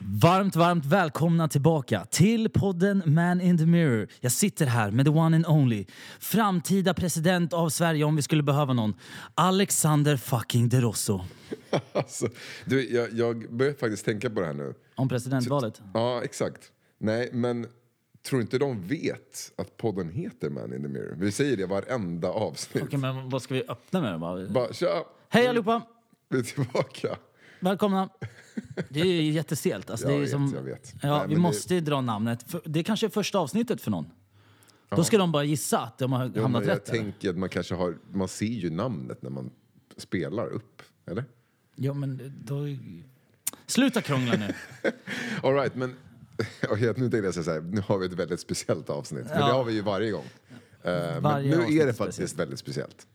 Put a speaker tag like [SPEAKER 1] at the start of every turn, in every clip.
[SPEAKER 1] Varmt, varmt välkomna tillbaka till podden Man in the Mirror. Jag sitter här med the one and only, framtida president av Sverige om vi skulle behöva någon, Alexander fucking De Rosso.
[SPEAKER 2] Alltså, du, jag, jag börjar faktiskt tänka på det här nu.
[SPEAKER 1] Om presidentvalet?
[SPEAKER 2] Ja, exakt. Nej, men tror inte de vet att podden heter Man in the Mirror? Vi säger det varenda avsnitt.
[SPEAKER 1] Okej, men vad ska vi öppna med då? bara?
[SPEAKER 2] Bara, tja,
[SPEAKER 1] Hej allihopa!
[SPEAKER 2] vi är tillbaka.
[SPEAKER 1] Välkomna! Det är ju jättestelt. Alltså, det
[SPEAKER 2] Jag
[SPEAKER 1] är ju
[SPEAKER 2] vet,
[SPEAKER 1] som,
[SPEAKER 2] jag vet.
[SPEAKER 1] Ja,
[SPEAKER 2] Nej,
[SPEAKER 1] vi
[SPEAKER 2] men det-
[SPEAKER 1] måste ju dra namnet. För- Det är kanske är första avsnittet för någon. Då ska de bara gissa att de har
[SPEAKER 2] Jo,
[SPEAKER 1] hamnat
[SPEAKER 2] men jag
[SPEAKER 1] rätt. där.
[SPEAKER 2] tänker att man kanske har, man ser ju namnet när man spelar upp, eller?
[SPEAKER 1] Ja, men då... Sluta krångla nu.
[SPEAKER 2] All right, men okay, nu tänkte jag säga så här, nu har vi ett väldigt speciellt avsnitt. Men
[SPEAKER 1] Ja.
[SPEAKER 2] det har vi ju varje gång. Eh, men
[SPEAKER 1] Varje
[SPEAKER 2] nu
[SPEAKER 1] avsnitt
[SPEAKER 2] är
[SPEAKER 1] är
[SPEAKER 2] det faktiskt
[SPEAKER 1] speciellt.
[SPEAKER 2] väldigt speciellt.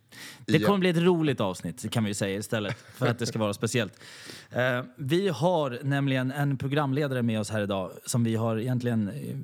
[SPEAKER 1] Det
[SPEAKER 2] Ja.
[SPEAKER 1] kommer bli ett roligt avsnitt kan vi ju säga istället för att det ska vara speciellt. Eh, vi har nämligen en programledare med oss här idag som vi har egentligen eh,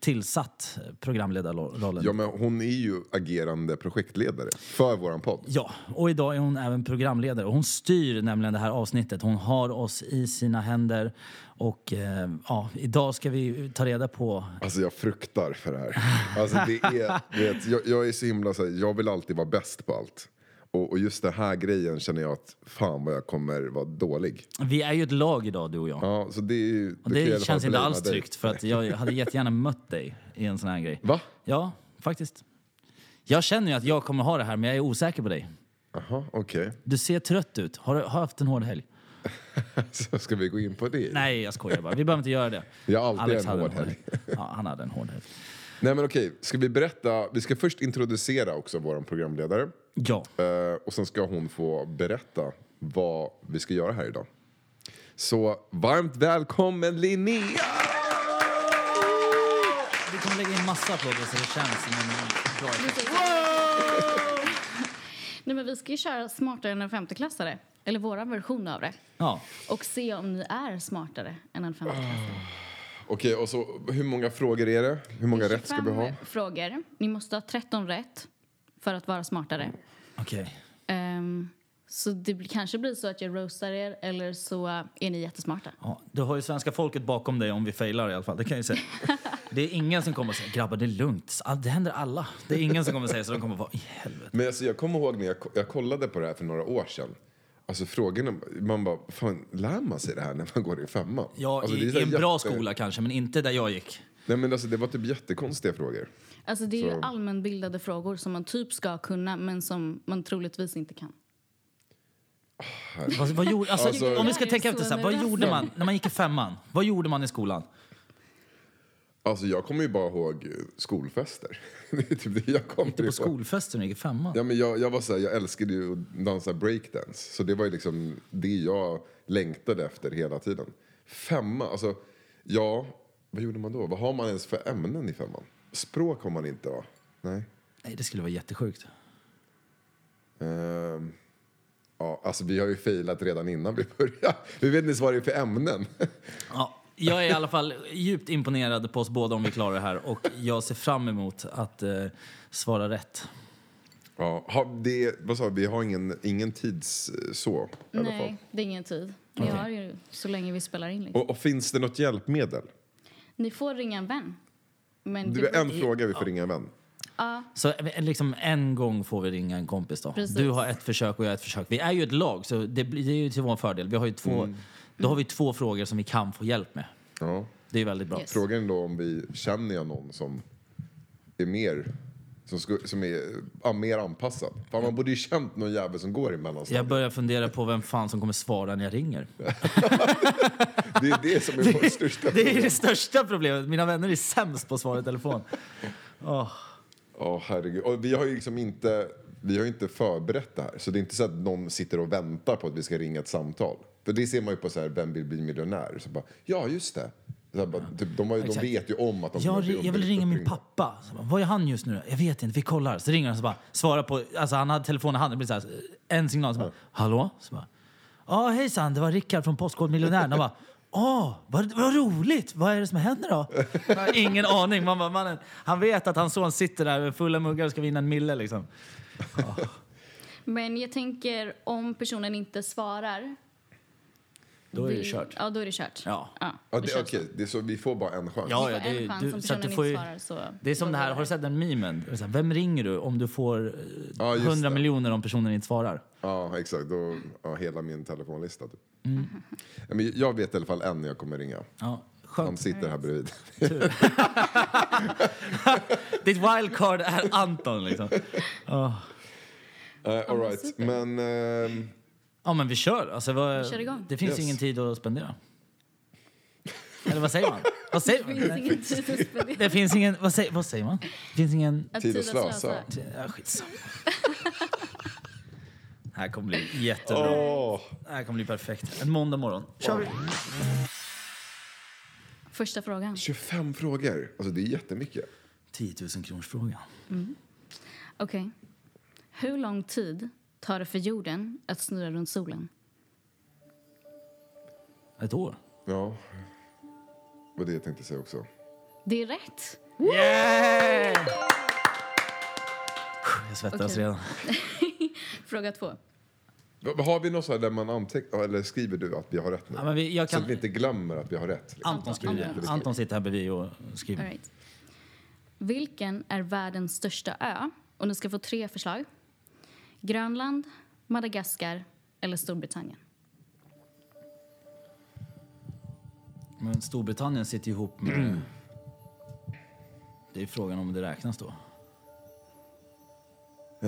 [SPEAKER 1] tillsatt programledarrollen.
[SPEAKER 2] Ja, men hon är ju agerande projektledare för våran podd.
[SPEAKER 1] Ja, och idag är hon även programledare. Hon styr nämligen det här avsnittet. Hon har oss i sina händer. Och eh, ja, idag ska vi ta reda på...
[SPEAKER 2] Alltså jag fruktar för det här. Alltså det är, du vet, jag, jag är så himla så här, jag vill alltid vara bäst på allt. Och, och just den här grejen känner jag att fan vad jag kommer vara dålig.
[SPEAKER 1] Vi är ju ett lag idag, du och jag.
[SPEAKER 2] Ja, så det är ju,
[SPEAKER 1] och
[SPEAKER 2] då kan jag i alla
[SPEAKER 1] det
[SPEAKER 2] fall
[SPEAKER 1] känns inte
[SPEAKER 2] blama
[SPEAKER 1] alls
[SPEAKER 2] dig.
[SPEAKER 1] tryggt för att jag hade jättegärna mött dig i en sån här grej.
[SPEAKER 2] Va?
[SPEAKER 1] Ja, faktiskt. Jag känner ju att jag kommer ha det här, men jag är osäker på dig.
[SPEAKER 2] Jaha, okej.
[SPEAKER 1] Du ser trött ut. Har du haft en hård helg?
[SPEAKER 2] Så ska vi gå in på det?
[SPEAKER 1] Nej, jag skojar bara. Vi behöver inte göra det.
[SPEAKER 2] Jag har alltid en
[SPEAKER 1] hade
[SPEAKER 2] hård helg.
[SPEAKER 1] Ja, han hade en hård helg.
[SPEAKER 2] Nej men okej, ska vi berätta? Vi ska först introducera också vår programledare.
[SPEAKER 1] Ja.
[SPEAKER 2] Eh, och sen ska hon få berätta vad vi ska göra här idag. Så varmt välkommen Linnea!
[SPEAKER 1] Vi kommer lägga in massa applåder så det känns som en bra effekt.
[SPEAKER 3] Nej, men vi ska ju köra smartare än en femteklassare, eller vår version av det.
[SPEAKER 1] Ja.
[SPEAKER 3] Och se om ni är smartare än en femteklassare.
[SPEAKER 2] Ah, Okej, och så hur många frågor är det? Hur många rätt ska vi ha?
[SPEAKER 3] 25 frågor. Ni måste ha 13 rätt för att vara smartare.
[SPEAKER 1] Okej.
[SPEAKER 3] Ehm, så det blir- kanske blir så att jag roastar er, eller så är ni jättesmarta.
[SPEAKER 1] Ja, du har ju svenska folket bakom dig om vi failar i alla fall. Det kan jag ju säga. Det är ingen som kommer och säger “grabbar, det är lugnt”. All- Det händer alla. Det är ingen som kommer säga så. De kommer vara “i helvete”.
[SPEAKER 2] Men alltså, jag kommer ihåg när jag, ko- jag kollade på det här för några år sedan. Alltså frågorna, man bara, fan lär man sig det här när man går i femman?
[SPEAKER 1] Ja,
[SPEAKER 2] alltså,
[SPEAKER 1] i,
[SPEAKER 2] så
[SPEAKER 1] i
[SPEAKER 2] här
[SPEAKER 1] en bra
[SPEAKER 2] jätte-
[SPEAKER 1] skola kanske, men inte där jag gick.
[SPEAKER 2] Nej men alltså det var typ jättekonstiga frågor.
[SPEAKER 3] Alltså det är
[SPEAKER 2] Så-
[SPEAKER 3] ju allmänbildade frågor som man typ ska kunna, men som man troligtvis inte kan.
[SPEAKER 1] Vad, vad gjorde, alltså,
[SPEAKER 2] Alltså-
[SPEAKER 1] om vi ska tänka efter, så här, vad gjorde man när man gick i femman? Vad gjorde man i skolan?
[SPEAKER 2] Alltså jag kommer ju bara ihåg eh, skolfester. det är typ det jag kommer
[SPEAKER 1] Gick du på
[SPEAKER 2] ihåg.
[SPEAKER 1] skolfester när du gick i femman?
[SPEAKER 2] Ja, men jag, jag var så här, jag älskade ju att dansa breakdance. Så det var ju liksom det jag längtade efter hela tiden. Femma, alltså ja, vad gjorde man då? Vad har man ens för ämnen i femman? Språk har man inte va? Nej.
[SPEAKER 1] Nej, det skulle vara jättesjukt.
[SPEAKER 2] Ehm, ja, alltså vi har ju failat redan innan vi började. Vi vet inte ens vad det är för ämnen.
[SPEAKER 1] Ja, jag är i alla fall djupt imponerad på oss båda om vi klarar det här och jag ser fram emot att eh, svara rätt.
[SPEAKER 2] Ja, har, det, vad sa vi? Vi har ingen, ingen tids eh, så i alla fall.
[SPEAKER 3] Nej, det är ingen tid. Ni har ju så länge vi spelar in. Liksom.
[SPEAKER 2] Och, och finns det något hjälpmedel?
[SPEAKER 3] Ni får ringa en vän. Men
[SPEAKER 2] Du,
[SPEAKER 3] det-
[SPEAKER 2] en fråga vi får ringa en vän.
[SPEAKER 3] Ja,
[SPEAKER 1] Så eh, liksom en gång får vi ringa en kompis då.
[SPEAKER 3] Precis.
[SPEAKER 1] Du har ett försök och jag har ett försök. Vi är ju ett lag så det, blir- det är ju till vår fördel. Vi har ju två,
[SPEAKER 2] Mm.
[SPEAKER 1] Då har vi två frågor som vi kan få hjälp med.
[SPEAKER 2] Ja.
[SPEAKER 1] Det är väldigt bra.
[SPEAKER 3] Yes.
[SPEAKER 2] Frågan är då om vi känner jag någon som är mer, som sku, som är, ja, mer anpassad. Fan, man borde ju känt någon jävel som går i
[SPEAKER 1] Jag
[SPEAKER 2] mellanstadiet.
[SPEAKER 1] börjar fundera på vem fan som kommer svara när jag ringer.
[SPEAKER 2] Det är det som är vår största
[SPEAKER 1] Det är det största problemet. Mina vänner är sämst på att svara i telefon. Åh.
[SPEAKER 2] Ja, herregud. Och vi har ju liksom inte, vi har ju inte förberett det här. Så det är inte så att någon sitter och väntar på att vi ska ringa ett samtal. För det ser man ju på så här, vem vill bli miljonär? Så bara, ja just det. Så här, bara, typ, de, har ju, de
[SPEAKER 1] Exakt.
[SPEAKER 2] vet ju om att de kommer
[SPEAKER 1] Jag,
[SPEAKER 2] bli
[SPEAKER 1] ri- jag vill
[SPEAKER 2] under-
[SPEAKER 1] ringa min
[SPEAKER 2] uppringda.
[SPEAKER 1] pappa. Så bara, Vad är han just nu då? Jag vet inte, vi kollar. Så ringer han så bara, svarar på, alltså han hade telefonen i handen, det blir så här, eh, en signal. Så bara, hallå? Så bara, ja hejsan, det var Rickard från Postkodmiljonären. Han bara, åh, vad, vad roligt, vad är det som händer då? Jag har ingen aning. Man bara, mannen, han vet att hans son sitter där med fulla muggar och ska vinna en mille liksom.
[SPEAKER 3] men jag tänker om personen inte svarar
[SPEAKER 1] Då är det kört.
[SPEAKER 3] Ja, då är det kört.
[SPEAKER 1] Ja.
[SPEAKER 2] Ja,
[SPEAKER 3] det
[SPEAKER 2] det,
[SPEAKER 3] känns
[SPEAKER 2] okej, det är så, vi får bara en chans.
[SPEAKER 1] Ja, ja,
[SPEAKER 3] får en
[SPEAKER 1] det,
[SPEAKER 3] chans,
[SPEAKER 1] du,
[SPEAKER 3] om
[SPEAKER 1] så
[SPEAKER 3] personen
[SPEAKER 1] att du
[SPEAKER 3] inte
[SPEAKER 1] får ju,
[SPEAKER 3] svarar så-
[SPEAKER 1] det är som
[SPEAKER 3] då
[SPEAKER 1] det här,
[SPEAKER 3] går
[SPEAKER 1] har du
[SPEAKER 3] det.
[SPEAKER 1] sett den memen? Så här, Vem ringer du om du får eh,
[SPEAKER 2] Ja, just
[SPEAKER 1] 100
[SPEAKER 2] det.
[SPEAKER 1] miljoner om personen inte svarar?
[SPEAKER 2] Ja, exakt. Då,
[SPEAKER 1] Mm.
[SPEAKER 2] ja, hela min telefonlista. Typ. Ja, Men jag vet i alla fall en jag kommer ringa.
[SPEAKER 1] Ja,
[SPEAKER 2] Han
[SPEAKER 1] skönt.
[SPEAKER 2] sitter här bredvid.
[SPEAKER 1] Ditt wildcard är Anton liksom.
[SPEAKER 2] Uh, all right. Men ehm,
[SPEAKER 1] Ja men vi kör. Alltså, vad,
[SPEAKER 3] Vi kör igång.
[SPEAKER 1] Det finns
[SPEAKER 2] Yes.
[SPEAKER 1] ingen tid att spendera. Eller vad säger man? Vad säger man?
[SPEAKER 3] Det finns ingen tid att spendera.
[SPEAKER 1] Det finns ingen... Vad, säger, vad säger man? Det finns ingen...
[SPEAKER 2] Tid att slösa.
[SPEAKER 1] Ja, skitsamma. Det här kommer bli jättebra.
[SPEAKER 2] åh,
[SPEAKER 1] Det här kommer bli perfekt. En måndag morgon. Kör vi!
[SPEAKER 3] Första frågan.
[SPEAKER 2] 25 frågor. Alltså det är jättemycket.
[SPEAKER 1] 10 000 kronors fråga.
[SPEAKER 3] Okej. Hur lång tid tar det för jorden att snurra runt solen?
[SPEAKER 1] Ett år.
[SPEAKER 2] Ja. Vad det jag tänkte säga också.
[SPEAKER 3] Det är rätt.
[SPEAKER 1] Yeah! Jag svettas
[SPEAKER 3] Okej.
[SPEAKER 1] redan.
[SPEAKER 3] Fråga två.
[SPEAKER 2] Va- Har vi något så här där man antecknar, eller skriver du att vi har rätt nu?
[SPEAKER 1] Ja, men vi, jag
[SPEAKER 2] Så
[SPEAKER 1] kan,
[SPEAKER 2] att vi inte glömmer att vi har rätt. liksom.
[SPEAKER 1] Anton skriver det.
[SPEAKER 2] Anton.
[SPEAKER 1] Anton sitter här bredvid och skriver.
[SPEAKER 3] All right. Vilken är världens största ö? Och ni ska få tre förslag. Grönland, Madagaskar eller Storbritannien?
[SPEAKER 1] Men Storbritannien sitter ju ihop med... Det är frågan om det räknas då.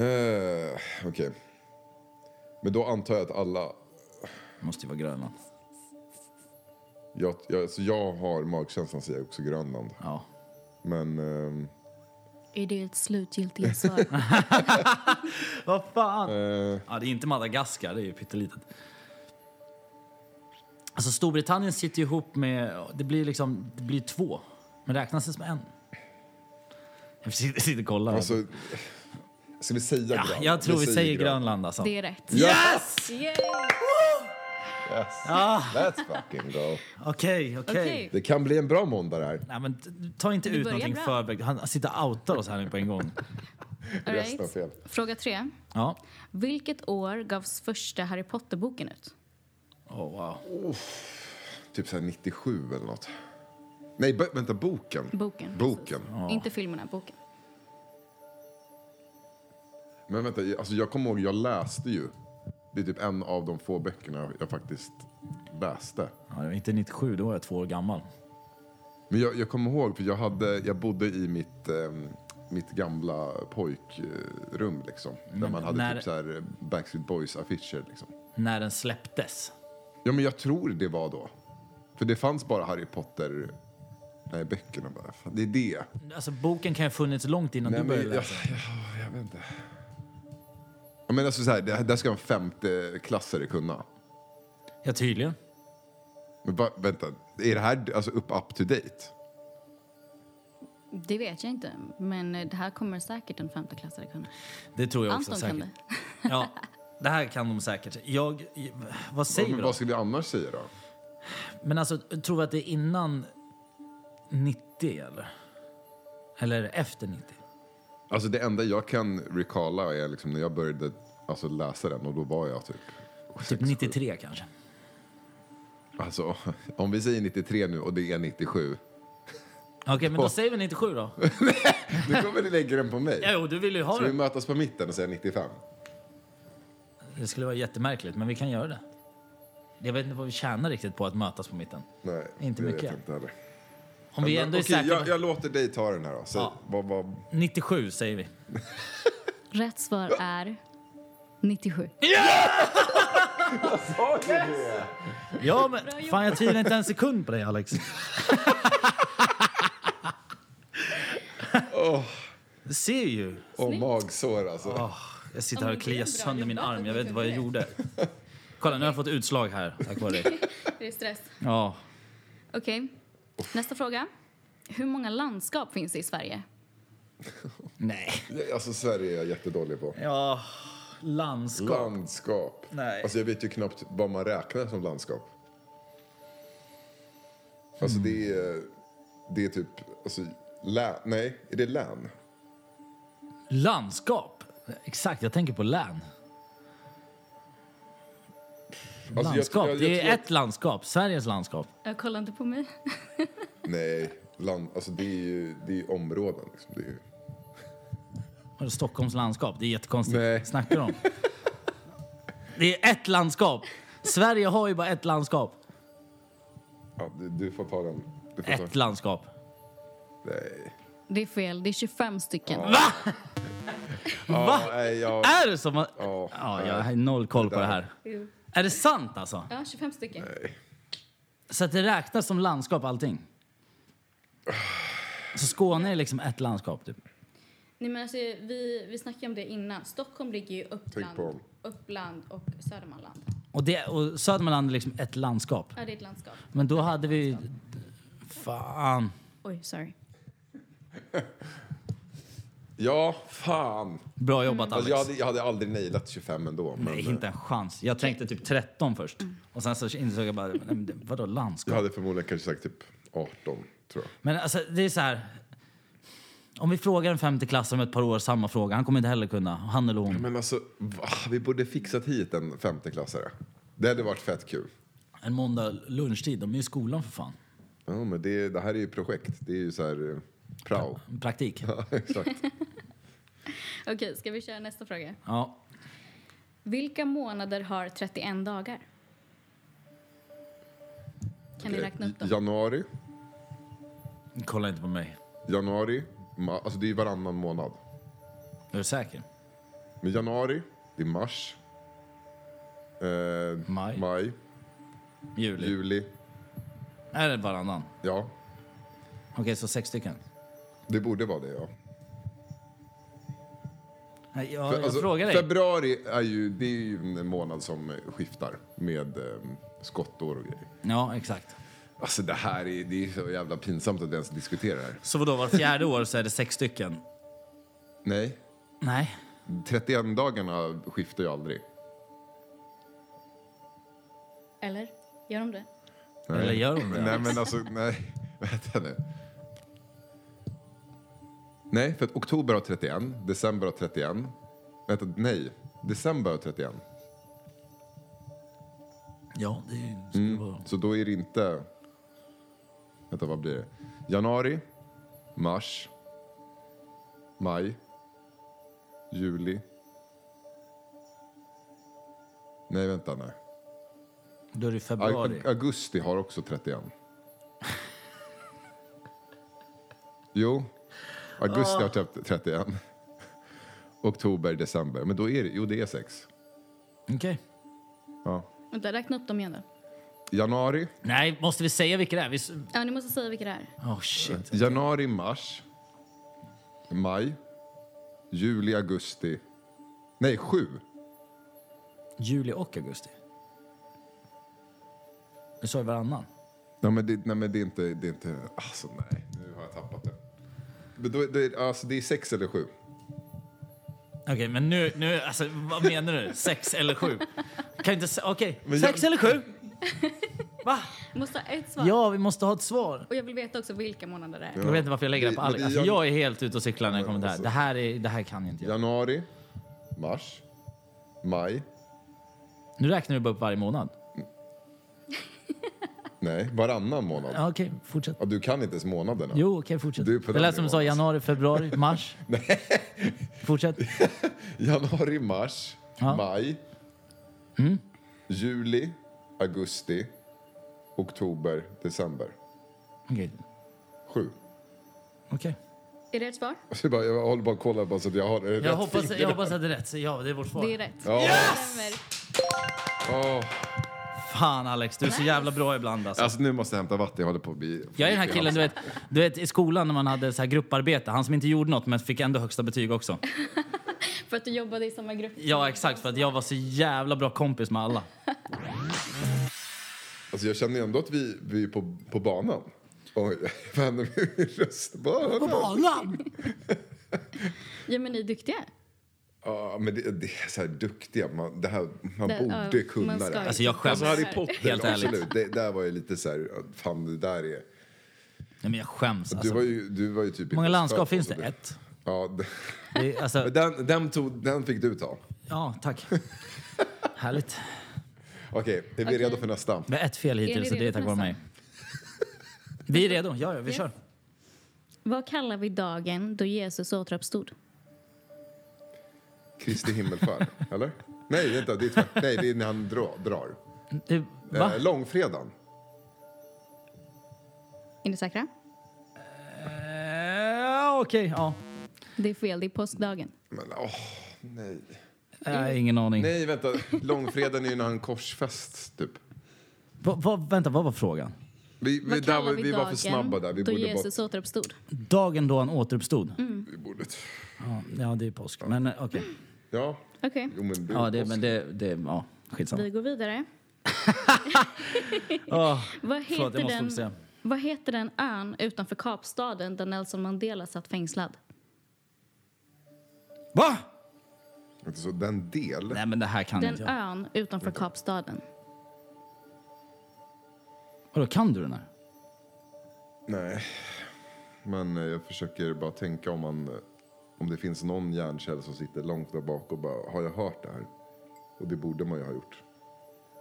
[SPEAKER 2] Eh, Okej. Men då antar jag att alla...
[SPEAKER 1] Det måste ju vara Grönland.
[SPEAKER 2] Jag, jag, alltså jag har magkänslan att säga också Grönland.
[SPEAKER 1] Ja.
[SPEAKER 2] Men... ehm,
[SPEAKER 3] Är det ett slutgiltigt svar?
[SPEAKER 1] Vad fan!
[SPEAKER 2] eh,
[SPEAKER 1] Ja, det är inte Madagaskar, det är ju pyttelitet. Alltså Storbritannien sitter ju ihop med... Det blir liksom det blir två. Men räknas det som en? Jag sitter sitter och kollar.
[SPEAKER 2] alltså, ska vi säga
[SPEAKER 1] ja,
[SPEAKER 2] Grönland?
[SPEAKER 1] jag tror vi säger Grönland alltså.
[SPEAKER 3] Det är rätt.
[SPEAKER 1] Yes!
[SPEAKER 3] Yay!
[SPEAKER 2] Yes. Let's fucking go.
[SPEAKER 1] Okej, okej.
[SPEAKER 3] Okej.
[SPEAKER 2] Det kan bli en bra måndag det här.
[SPEAKER 1] Nej, men t- Ta inte
[SPEAKER 3] Det
[SPEAKER 1] ut
[SPEAKER 3] börjar
[SPEAKER 1] någonting
[SPEAKER 3] bra.
[SPEAKER 1] förväg. Han sitter och outar oss här nu på en gång.
[SPEAKER 3] All
[SPEAKER 2] Resten
[SPEAKER 3] right.
[SPEAKER 2] var fel.
[SPEAKER 3] Fråga tre.
[SPEAKER 1] Ja.
[SPEAKER 3] Vilket år gavs första Harry Potter-boken ut?
[SPEAKER 1] Oh, wow.
[SPEAKER 2] Typ så här 97 eller något. Nej, b- vänta, boken.
[SPEAKER 3] Boken.
[SPEAKER 2] Boken.
[SPEAKER 3] Inte filmerna, boken.
[SPEAKER 2] Men vänta, jag- alltså jag kommer ihåg, jag läste ju. Det är typ en av de få böckerna jag faktiskt läste.
[SPEAKER 1] Ja, det var inte 97, då var jag två år gammal.
[SPEAKER 2] Men jag, jag kommer ihåg, för jag, hade, jag bodde i mitt, ehm, mitt gamla pojkrum liksom. Där man hade
[SPEAKER 1] när-
[SPEAKER 2] typ så här Backstreet Boys-affischer liksom.
[SPEAKER 1] När den släpptes.
[SPEAKER 2] Ja, men jag tror det var då. För det fanns bara Harry Potter... Nej, böckerna bara. Fan, Det är det.
[SPEAKER 1] Alltså boken kan ju ha funnits långt innan
[SPEAKER 2] Nej,
[SPEAKER 1] du
[SPEAKER 2] men
[SPEAKER 1] började
[SPEAKER 2] jag, jag,
[SPEAKER 1] läsa.
[SPEAKER 2] jag vet inte. Jag menar, alltså, så här, det, här- det här ska en femteklassare kunna.
[SPEAKER 1] Ja, tydligen.
[SPEAKER 2] Men va, vänta, är det här alltså, upp, up to date?
[SPEAKER 3] Det vet jag inte, men eh, det här kommer säkert en femteklassare kunna.
[SPEAKER 1] Det tror jag också
[SPEAKER 3] Anton
[SPEAKER 1] säkert.
[SPEAKER 3] kan det.
[SPEAKER 1] Ja, det här kan de säkert. Jag, vad
[SPEAKER 2] Ja,
[SPEAKER 1] säger
[SPEAKER 2] men
[SPEAKER 1] vi då?
[SPEAKER 2] vad ska vi annars säga då?
[SPEAKER 1] Men alltså, tror vi att det är innan 90 eller? Eller är det efter 90?
[SPEAKER 2] Alltså det enda jag kan recalla är liksom när jag började alltså, läsa den och då var jag typ...
[SPEAKER 1] Typ 93 kanske.
[SPEAKER 2] Alltså, om vi säger 93 nu och det är 97.
[SPEAKER 1] Okej, men då säger vi 97 då.
[SPEAKER 2] Nu kommer ni lägga den på
[SPEAKER 1] Ja,
[SPEAKER 2] mig.
[SPEAKER 1] Jo, du vill ju ha
[SPEAKER 2] Ska vi
[SPEAKER 1] det.
[SPEAKER 2] mötas på mitten och säga 95?
[SPEAKER 1] Det skulle vara jättemärkligt, men vi kan göra det. Jag vet inte vad vi tjänar riktigt på att mötas på mitten.
[SPEAKER 2] Nej,
[SPEAKER 1] Inte
[SPEAKER 2] det
[SPEAKER 1] mycket.
[SPEAKER 2] Vet jag inte heller.
[SPEAKER 1] Om vi
[SPEAKER 2] Men,
[SPEAKER 1] ändå är
[SPEAKER 2] okej,
[SPEAKER 1] säkra.
[SPEAKER 2] jag, jag låter dig ta den här då. Så,
[SPEAKER 1] Ja.
[SPEAKER 2] vad, vad,
[SPEAKER 1] 97 säger vi.
[SPEAKER 3] Rätt svar
[SPEAKER 1] Ah!
[SPEAKER 3] är 97.
[SPEAKER 1] Ja, men fan jag tvivlar inte en sekund på dig Alex. Du ser ju.
[SPEAKER 2] och magsår alltså.
[SPEAKER 1] Jag sitter här och
[SPEAKER 3] men det är
[SPEAKER 1] kliar
[SPEAKER 3] bra
[SPEAKER 1] sönder min
[SPEAKER 3] jobbat
[SPEAKER 1] arm.
[SPEAKER 3] att
[SPEAKER 1] Jag
[SPEAKER 3] du
[SPEAKER 1] vet inte vad jag gjorde. Kolla, nu har jag fått utslag här tack vare dig.
[SPEAKER 3] Det är stress.
[SPEAKER 1] Ja.
[SPEAKER 3] Okej, nästa fråga. Hur många landskap finns det i Sverige?
[SPEAKER 1] Nej.
[SPEAKER 2] Alltså Sverige är jag jättedålig på.
[SPEAKER 1] Ja, landskap.
[SPEAKER 2] Landskap.
[SPEAKER 1] Nej.
[SPEAKER 2] Alltså jag vet ju knappt vad man räknar som landskap. Alltså det
[SPEAKER 1] Mm.
[SPEAKER 2] är... Det är typ... Alltså, lä, nej, är det län? Alltså,
[SPEAKER 1] Landskap? Exakt, jag tänker på län.
[SPEAKER 2] Alltså, jag-
[SPEAKER 1] landskap.
[SPEAKER 2] jag- jag
[SPEAKER 1] det är
[SPEAKER 2] tror att-
[SPEAKER 1] ett landskap. Sveriges landskap.
[SPEAKER 3] Jag kollar inte på mig.
[SPEAKER 2] Nej, land, alltså det är ju det är ju områden. Liksom. Det är ju,
[SPEAKER 1] Vadå, Stockholms landskap? Det är jättekonstigt.
[SPEAKER 2] Nej.
[SPEAKER 1] Snackar du om? Det är ett landskap. Sverige har ju bara ett landskap.
[SPEAKER 2] ja, du, du får ta den. Du får
[SPEAKER 1] Ett
[SPEAKER 2] ta,
[SPEAKER 1] landskap.
[SPEAKER 2] nej.
[SPEAKER 3] Det är fel. Det är 25 stycken.
[SPEAKER 1] Ah!
[SPEAKER 2] Ja,
[SPEAKER 1] Va?
[SPEAKER 2] nej, jag,
[SPEAKER 1] Är det som att...
[SPEAKER 2] Ja.
[SPEAKER 1] Ja, jag har noll koll på det här.
[SPEAKER 3] Jo.
[SPEAKER 1] Är det sant alltså?
[SPEAKER 3] Ja, 25 stycken.
[SPEAKER 1] Så att det räknas som landskap allting? Så Skåne är liksom ett landskap typ?
[SPEAKER 3] Nej, men alltså, vi, vi snackade om det innan. Stockholm ligger ju i
[SPEAKER 2] Tänk på
[SPEAKER 3] Uppland,
[SPEAKER 2] dem.
[SPEAKER 3] Uppland och Södermanland.
[SPEAKER 1] Och, det, och Södermanland är liksom ett landskap.
[SPEAKER 3] Ja, det är ett landskap.
[SPEAKER 1] Men då hade vi... Fan.
[SPEAKER 3] Oj, sorry.
[SPEAKER 2] ja, fan.
[SPEAKER 1] Bra jobbat Alex.
[SPEAKER 2] Alltså, jag, hade, jag hade aldrig nailat 25 ändå. Men eh,
[SPEAKER 1] Nej, inte en chans. Jag tänkte typ 13 först.
[SPEAKER 2] Mm.
[SPEAKER 1] Och sen så insåg jag bara, nej, men det- vadå
[SPEAKER 2] jag
[SPEAKER 1] landskap?
[SPEAKER 2] hade förmodligen kanske sagt typ 18, tror jag.
[SPEAKER 1] Men alltså det är så här. Om vi frågar en femteklassare om ett par år samma fråga, han kommer inte heller kunna. Han eller hon.
[SPEAKER 2] Men alltså, va? vi borde fixat hit en femteklassare. Det hade varit fett kul.
[SPEAKER 1] En måndag lunchtid, de är ju i skolan för fan.
[SPEAKER 2] Ja, men det, det här är ju projekt. Det är ju så här eh, prao.
[SPEAKER 1] Praktik.
[SPEAKER 2] Ja, exakt.
[SPEAKER 3] Okej, ska vi köra nästa fråga?
[SPEAKER 1] Ja.
[SPEAKER 3] Vilka månader har 31 dagar? Kan ni
[SPEAKER 2] Okej.
[SPEAKER 3] räkna upp dem?
[SPEAKER 2] Januari,
[SPEAKER 1] Kolla inte på mig.
[SPEAKER 2] januari, ma- alltså det är ju varannan månad.
[SPEAKER 1] Är du säker?
[SPEAKER 2] Men januari, det är mars. Eh,
[SPEAKER 1] Maj.
[SPEAKER 2] maj,
[SPEAKER 1] Juli.
[SPEAKER 2] juli,
[SPEAKER 1] Är det varannan?
[SPEAKER 2] ja.
[SPEAKER 1] Okej, så sex stycken.
[SPEAKER 2] Det borde vara det, ja.
[SPEAKER 1] Nej, jag,
[SPEAKER 2] För-
[SPEAKER 1] jag
[SPEAKER 2] alltså,
[SPEAKER 1] frågar dig.
[SPEAKER 2] Februari är ju, det är ju en månad som eh, skiftar med eh, skottår och grejer.
[SPEAKER 1] Ja, exakt.
[SPEAKER 2] Alltså det här är, det är så jävla pinsamt att ens diskutera det här.
[SPEAKER 1] Så vadå, var fjärde år så är det sex stycken?
[SPEAKER 2] Nej,
[SPEAKER 1] Nej.
[SPEAKER 2] 31 dagarna skiftar ju aldrig.
[SPEAKER 3] Eller? Gör de det?
[SPEAKER 2] Nej.
[SPEAKER 1] Eller gör de det?
[SPEAKER 2] Nej men alltså, nej. Vänta nu. Nej, för att oktober har 31, december har 31. Vänta, nej. December har 31.
[SPEAKER 1] Ja, det är ju- skulle vara...
[SPEAKER 2] Så då är det inte... Vänta, vad blir det? Januari, mars, maj, juli. Nej, vänta nej.
[SPEAKER 1] Då är det ju februari.
[SPEAKER 2] Ag- Augusti har också 31. Jo, augusti har typ 31. Oktober, december. Men då är det, jo det är sex.
[SPEAKER 1] Okej.
[SPEAKER 2] Ja.
[SPEAKER 3] Vänta, räkna upp dem igen då.
[SPEAKER 2] Januari,
[SPEAKER 1] Nej, måste vi säga vilka det är? Vi... s-
[SPEAKER 3] Ja, ni måste säga vilka det är.
[SPEAKER 1] Oh shit.
[SPEAKER 2] januari, mars, maj, juli, augusti. Nej, sju.
[SPEAKER 1] Juli och augusti. Du sa ju varannan.
[SPEAKER 2] Nej men det, nej, men det är inte, det är inte, alltså nej, nu har jag tappat det. Men då, är- då är, alltså det är sex eller sju.
[SPEAKER 1] Okej, men nu, nu, alltså vad menar du? Sex eller sju? Kan inte säga, okej.
[SPEAKER 2] Men jag-
[SPEAKER 1] Sex eller sju? Va?
[SPEAKER 3] Jag måste ha ett svar.
[SPEAKER 1] Ja, vi måste ha ett svar.
[SPEAKER 3] Och jag vill veta också vilka månader det är.
[SPEAKER 1] Jag vet inte varför jag lägger det på
[SPEAKER 2] Men det-
[SPEAKER 1] Alex.
[SPEAKER 2] men det
[SPEAKER 1] Alltså,
[SPEAKER 2] gör-
[SPEAKER 1] jag är helt ute och cyklar när jag kommer till det här. Det här, är, det här kan jag inte göra.
[SPEAKER 2] Januari, mars, maj,
[SPEAKER 1] Nu räknar du bara upp varje månad.
[SPEAKER 2] Nej, varannan månad.
[SPEAKER 1] Ja, okej, fortsätt.
[SPEAKER 2] Ja, du kan inte ens månaderna.
[SPEAKER 1] Jo, okej, fortsätt.
[SPEAKER 2] Du är på
[SPEAKER 1] Det
[SPEAKER 2] den
[SPEAKER 1] lät som du sa
[SPEAKER 2] nivån, alltså.
[SPEAKER 1] januari, februari, mars. Fortsätt.
[SPEAKER 2] Januari, mars,
[SPEAKER 1] Ja. Mm.
[SPEAKER 2] maj, juli, augusti, oktober, december.
[SPEAKER 1] Okej.
[SPEAKER 2] Sju.
[SPEAKER 1] okej.
[SPEAKER 3] Är det ett svar?
[SPEAKER 2] Alltså, jag bara- jag håller bara och kollar bara så att jag har det
[SPEAKER 1] Jag
[SPEAKER 2] rätt
[SPEAKER 1] hoppas,
[SPEAKER 2] finger.
[SPEAKER 1] jag hoppas att det är rätt. Så ja, det är vårt svar.
[SPEAKER 3] Det är rätt.
[SPEAKER 2] Ja.
[SPEAKER 3] Stämmer.
[SPEAKER 2] Åh,
[SPEAKER 1] Fan Alex, du är så jävla bra ibland alltså.
[SPEAKER 2] Alltså nu måste jag hämta vatten, jag håller på att bli...
[SPEAKER 1] Jag är den här killen du vet, du vet i skolan när man hade så här grupparbete, han som inte gjorde något men fick ändå högsta betyg också.
[SPEAKER 3] För att du jobbade i samma grupp.
[SPEAKER 1] Ja exakt, för att jag var så jävla bra kompis med alla.
[SPEAKER 2] Alltså jag känner ändå att vi, vi är på, på banan. Oj, vad hände med min röst? Banan.
[SPEAKER 1] Banan!
[SPEAKER 3] Ja, men ni är duktiga.
[SPEAKER 2] Ja, men det, det är så här duktiga. Man, det här, man
[SPEAKER 3] Det- ja,
[SPEAKER 2] borde kunna
[SPEAKER 3] man ska
[SPEAKER 2] det.
[SPEAKER 3] ju.
[SPEAKER 1] Alltså jag skäms.
[SPEAKER 2] Alltså Harry Potter,
[SPEAKER 1] Helt ärligt.
[SPEAKER 2] absolut. Det, där var ju lite så här, fan det där är...
[SPEAKER 1] Nej men jag skäms
[SPEAKER 2] Du
[SPEAKER 1] alltså.
[SPEAKER 2] var
[SPEAKER 1] Hur
[SPEAKER 2] ju, du var ju typ...
[SPEAKER 1] många
[SPEAKER 2] inte
[SPEAKER 1] landskap
[SPEAKER 2] född på
[SPEAKER 1] finns det?
[SPEAKER 2] så
[SPEAKER 1] Ett.
[SPEAKER 2] Ja, d-
[SPEAKER 1] Det är, alltså,
[SPEAKER 2] men den, den, tog, den fick du ta.
[SPEAKER 1] ja, tack. Härligt.
[SPEAKER 2] Okej, är vi
[SPEAKER 3] Okej.
[SPEAKER 2] redo för nästa?
[SPEAKER 1] Vi har ett fel
[SPEAKER 3] Är ni
[SPEAKER 1] hittills och det är
[SPEAKER 3] redo
[SPEAKER 1] tack
[SPEAKER 3] för
[SPEAKER 1] vare mig.
[SPEAKER 3] nästa?
[SPEAKER 1] Vi är redo. Ja, ja, vi
[SPEAKER 3] Yes.
[SPEAKER 1] kör.
[SPEAKER 3] Vad kallar vi dagen då Jesus återuppstod?
[SPEAKER 2] Kristi himmelfärd, eller? Nej, vänta, det är tvärt. Nej, det är när han dra, drar.
[SPEAKER 1] Du, va?
[SPEAKER 2] Eh, långfredagen.
[SPEAKER 3] Är ni säkra?
[SPEAKER 1] Eh, Okej, ja.
[SPEAKER 3] Det är fel, det är påskdagen.
[SPEAKER 2] Men åh, nej.
[SPEAKER 3] Mm.
[SPEAKER 1] Eh, ingen aning.
[SPEAKER 2] Nej, vänta. Långfredagen är ju när han korsfästs, typ.
[SPEAKER 1] Va, va, vänta, vad var frågan?
[SPEAKER 2] Vi, vi,
[SPEAKER 3] Vad
[SPEAKER 2] där,
[SPEAKER 3] kallar
[SPEAKER 2] var-
[SPEAKER 3] vi,
[SPEAKER 2] vi
[SPEAKER 3] dagen
[SPEAKER 2] var för snabba där. Vi
[SPEAKER 3] då
[SPEAKER 2] borde
[SPEAKER 3] Jesus återuppstod?
[SPEAKER 1] Dagen då han återuppstod?
[SPEAKER 3] Mm.
[SPEAKER 2] bara... Vi borde...
[SPEAKER 1] Ja, ja, det är påsk. Men eh, okej.
[SPEAKER 2] Ja,
[SPEAKER 3] Okej,
[SPEAKER 2] jo, men det,
[SPEAKER 1] Ja, det,
[SPEAKER 2] oss.
[SPEAKER 1] men det, det, ja,
[SPEAKER 3] vi
[SPEAKER 1] skitsamma.
[SPEAKER 3] går vidare.
[SPEAKER 1] Oh,
[SPEAKER 2] Ah,
[SPEAKER 3] Vad heter,
[SPEAKER 1] förlåt, jag måste
[SPEAKER 3] den,
[SPEAKER 1] fokusera.
[SPEAKER 3] vad heter den ön utanför Kapstaden där Nelson Mandela satt fängslad?
[SPEAKER 1] Va?
[SPEAKER 2] Inte Så den del...
[SPEAKER 1] Nej, men det här kan
[SPEAKER 3] Den
[SPEAKER 1] inte jag.
[SPEAKER 3] ön utanför Kapstaden.
[SPEAKER 1] Vadå, kan du den här?
[SPEAKER 2] Nej. Men eh, jag försöker bara tänka om man... eh, Om det finns någon hjärnkärl som sitter långt där bak och bara, har jag hört det här? Och det borde man ju ha gjort.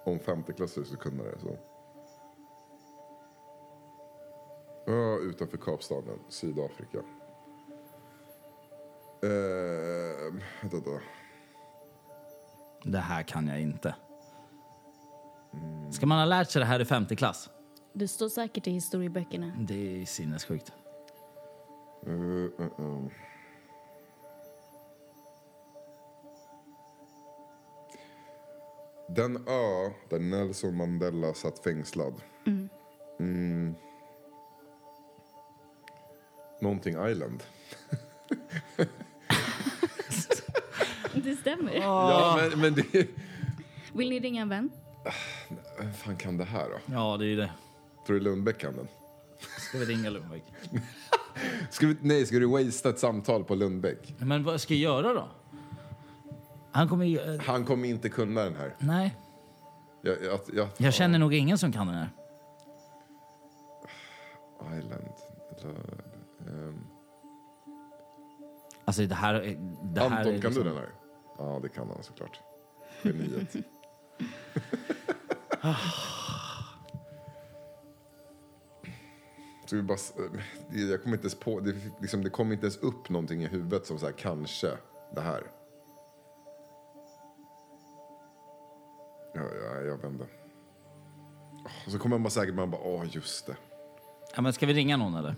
[SPEAKER 2] Om femteklassare skulle kunna det så. Ö utanför Kapstaden, Sydafrika. Eh, vänta, vänta.
[SPEAKER 1] Det här kan jag inte. Ska man ha lärt sig det här i femte klass?
[SPEAKER 3] Du står säkert i historieböckerna.
[SPEAKER 1] Det är sinnessjukt.
[SPEAKER 2] Uh, uh, uh. Den ö där Nelson Mandela satt fängslad. Mm. Någonting Island.
[SPEAKER 3] Det stämmer.
[SPEAKER 1] Ah.
[SPEAKER 2] Ja, men, men det...
[SPEAKER 3] Vill ni ringa en vän?
[SPEAKER 2] Vem fan kan det här då?
[SPEAKER 1] Ja, det är ju det.
[SPEAKER 2] Tror du Lundbäck kan den?
[SPEAKER 1] Ska vi ringa Lundvik?
[SPEAKER 2] Ska vi, nej, ska du wastea ett samtal på Lundbäck?
[SPEAKER 1] Men vad ska jag göra då? Han kommer ju... eh,
[SPEAKER 2] Han kommer inte kunna den här.
[SPEAKER 1] nej.
[SPEAKER 2] Jag, jag, jag,
[SPEAKER 1] Jag känner nog ingen som kan den här.
[SPEAKER 2] Island. Eller, ehm,
[SPEAKER 1] Alltså det här... är- Det här
[SPEAKER 2] Anton,
[SPEAKER 1] är
[SPEAKER 2] kan
[SPEAKER 1] liksom-
[SPEAKER 2] du den här? Ja, det kan han såklart. Geniet. Så vi bara, s- det- jag kommer inte ens på, det, liksom, det kom inte ens upp någonting i huvudet som så här, kanske det här. Ja, ja, jag vände. Och så kommer man säkert man bara, åh just det.
[SPEAKER 1] Ja, men ska vi ringa någon eller?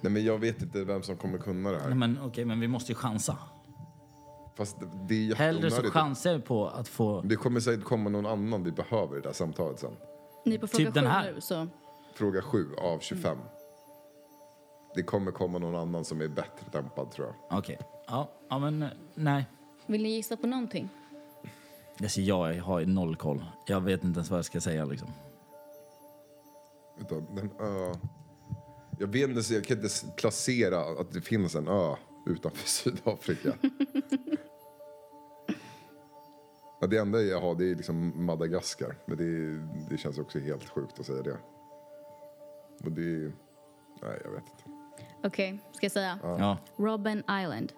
[SPEAKER 2] Nej men jag vet inte vem som kommer kunna det
[SPEAKER 1] Nej,
[SPEAKER 2] här.
[SPEAKER 1] men okej, men vi måste ju chansa.
[SPEAKER 2] Fast det, det är
[SPEAKER 1] Hellre så
[SPEAKER 2] jätteonödigt.
[SPEAKER 1] chansar vi på att få...
[SPEAKER 2] Det kommer säkert komma någon annan vi behöver i det här samtalet sen.
[SPEAKER 3] Ni är på fråga
[SPEAKER 1] Typ den
[SPEAKER 3] sju
[SPEAKER 1] här.
[SPEAKER 3] nu, så...
[SPEAKER 2] Fråga 7 av 25. Det kommer komma någon annan som är bättre lämpad tror jag.
[SPEAKER 1] Okej. Ja, ja, men eh, nej.
[SPEAKER 3] Vill ni gissa på någonting?
[SPEAKER 1] Alltså, jag har ju noll koll. Jag vet inte ens vad jag ska säga liksom.
[SPEAKER 2] Utan den ö... Jag vet inte, så jag kan inte s- placera att det finns en ö utanför Sydafrika. ja, det enda jag har det är liksom Madagaskar. Men det, det känns också helt sjukt att säga det. Och det är... Nej, jag vet inte.
[SPEAKER 3] Okej, ska jag säga?
[SPEAKER 1] Ja.
[SPEAKER 3] Robben Island.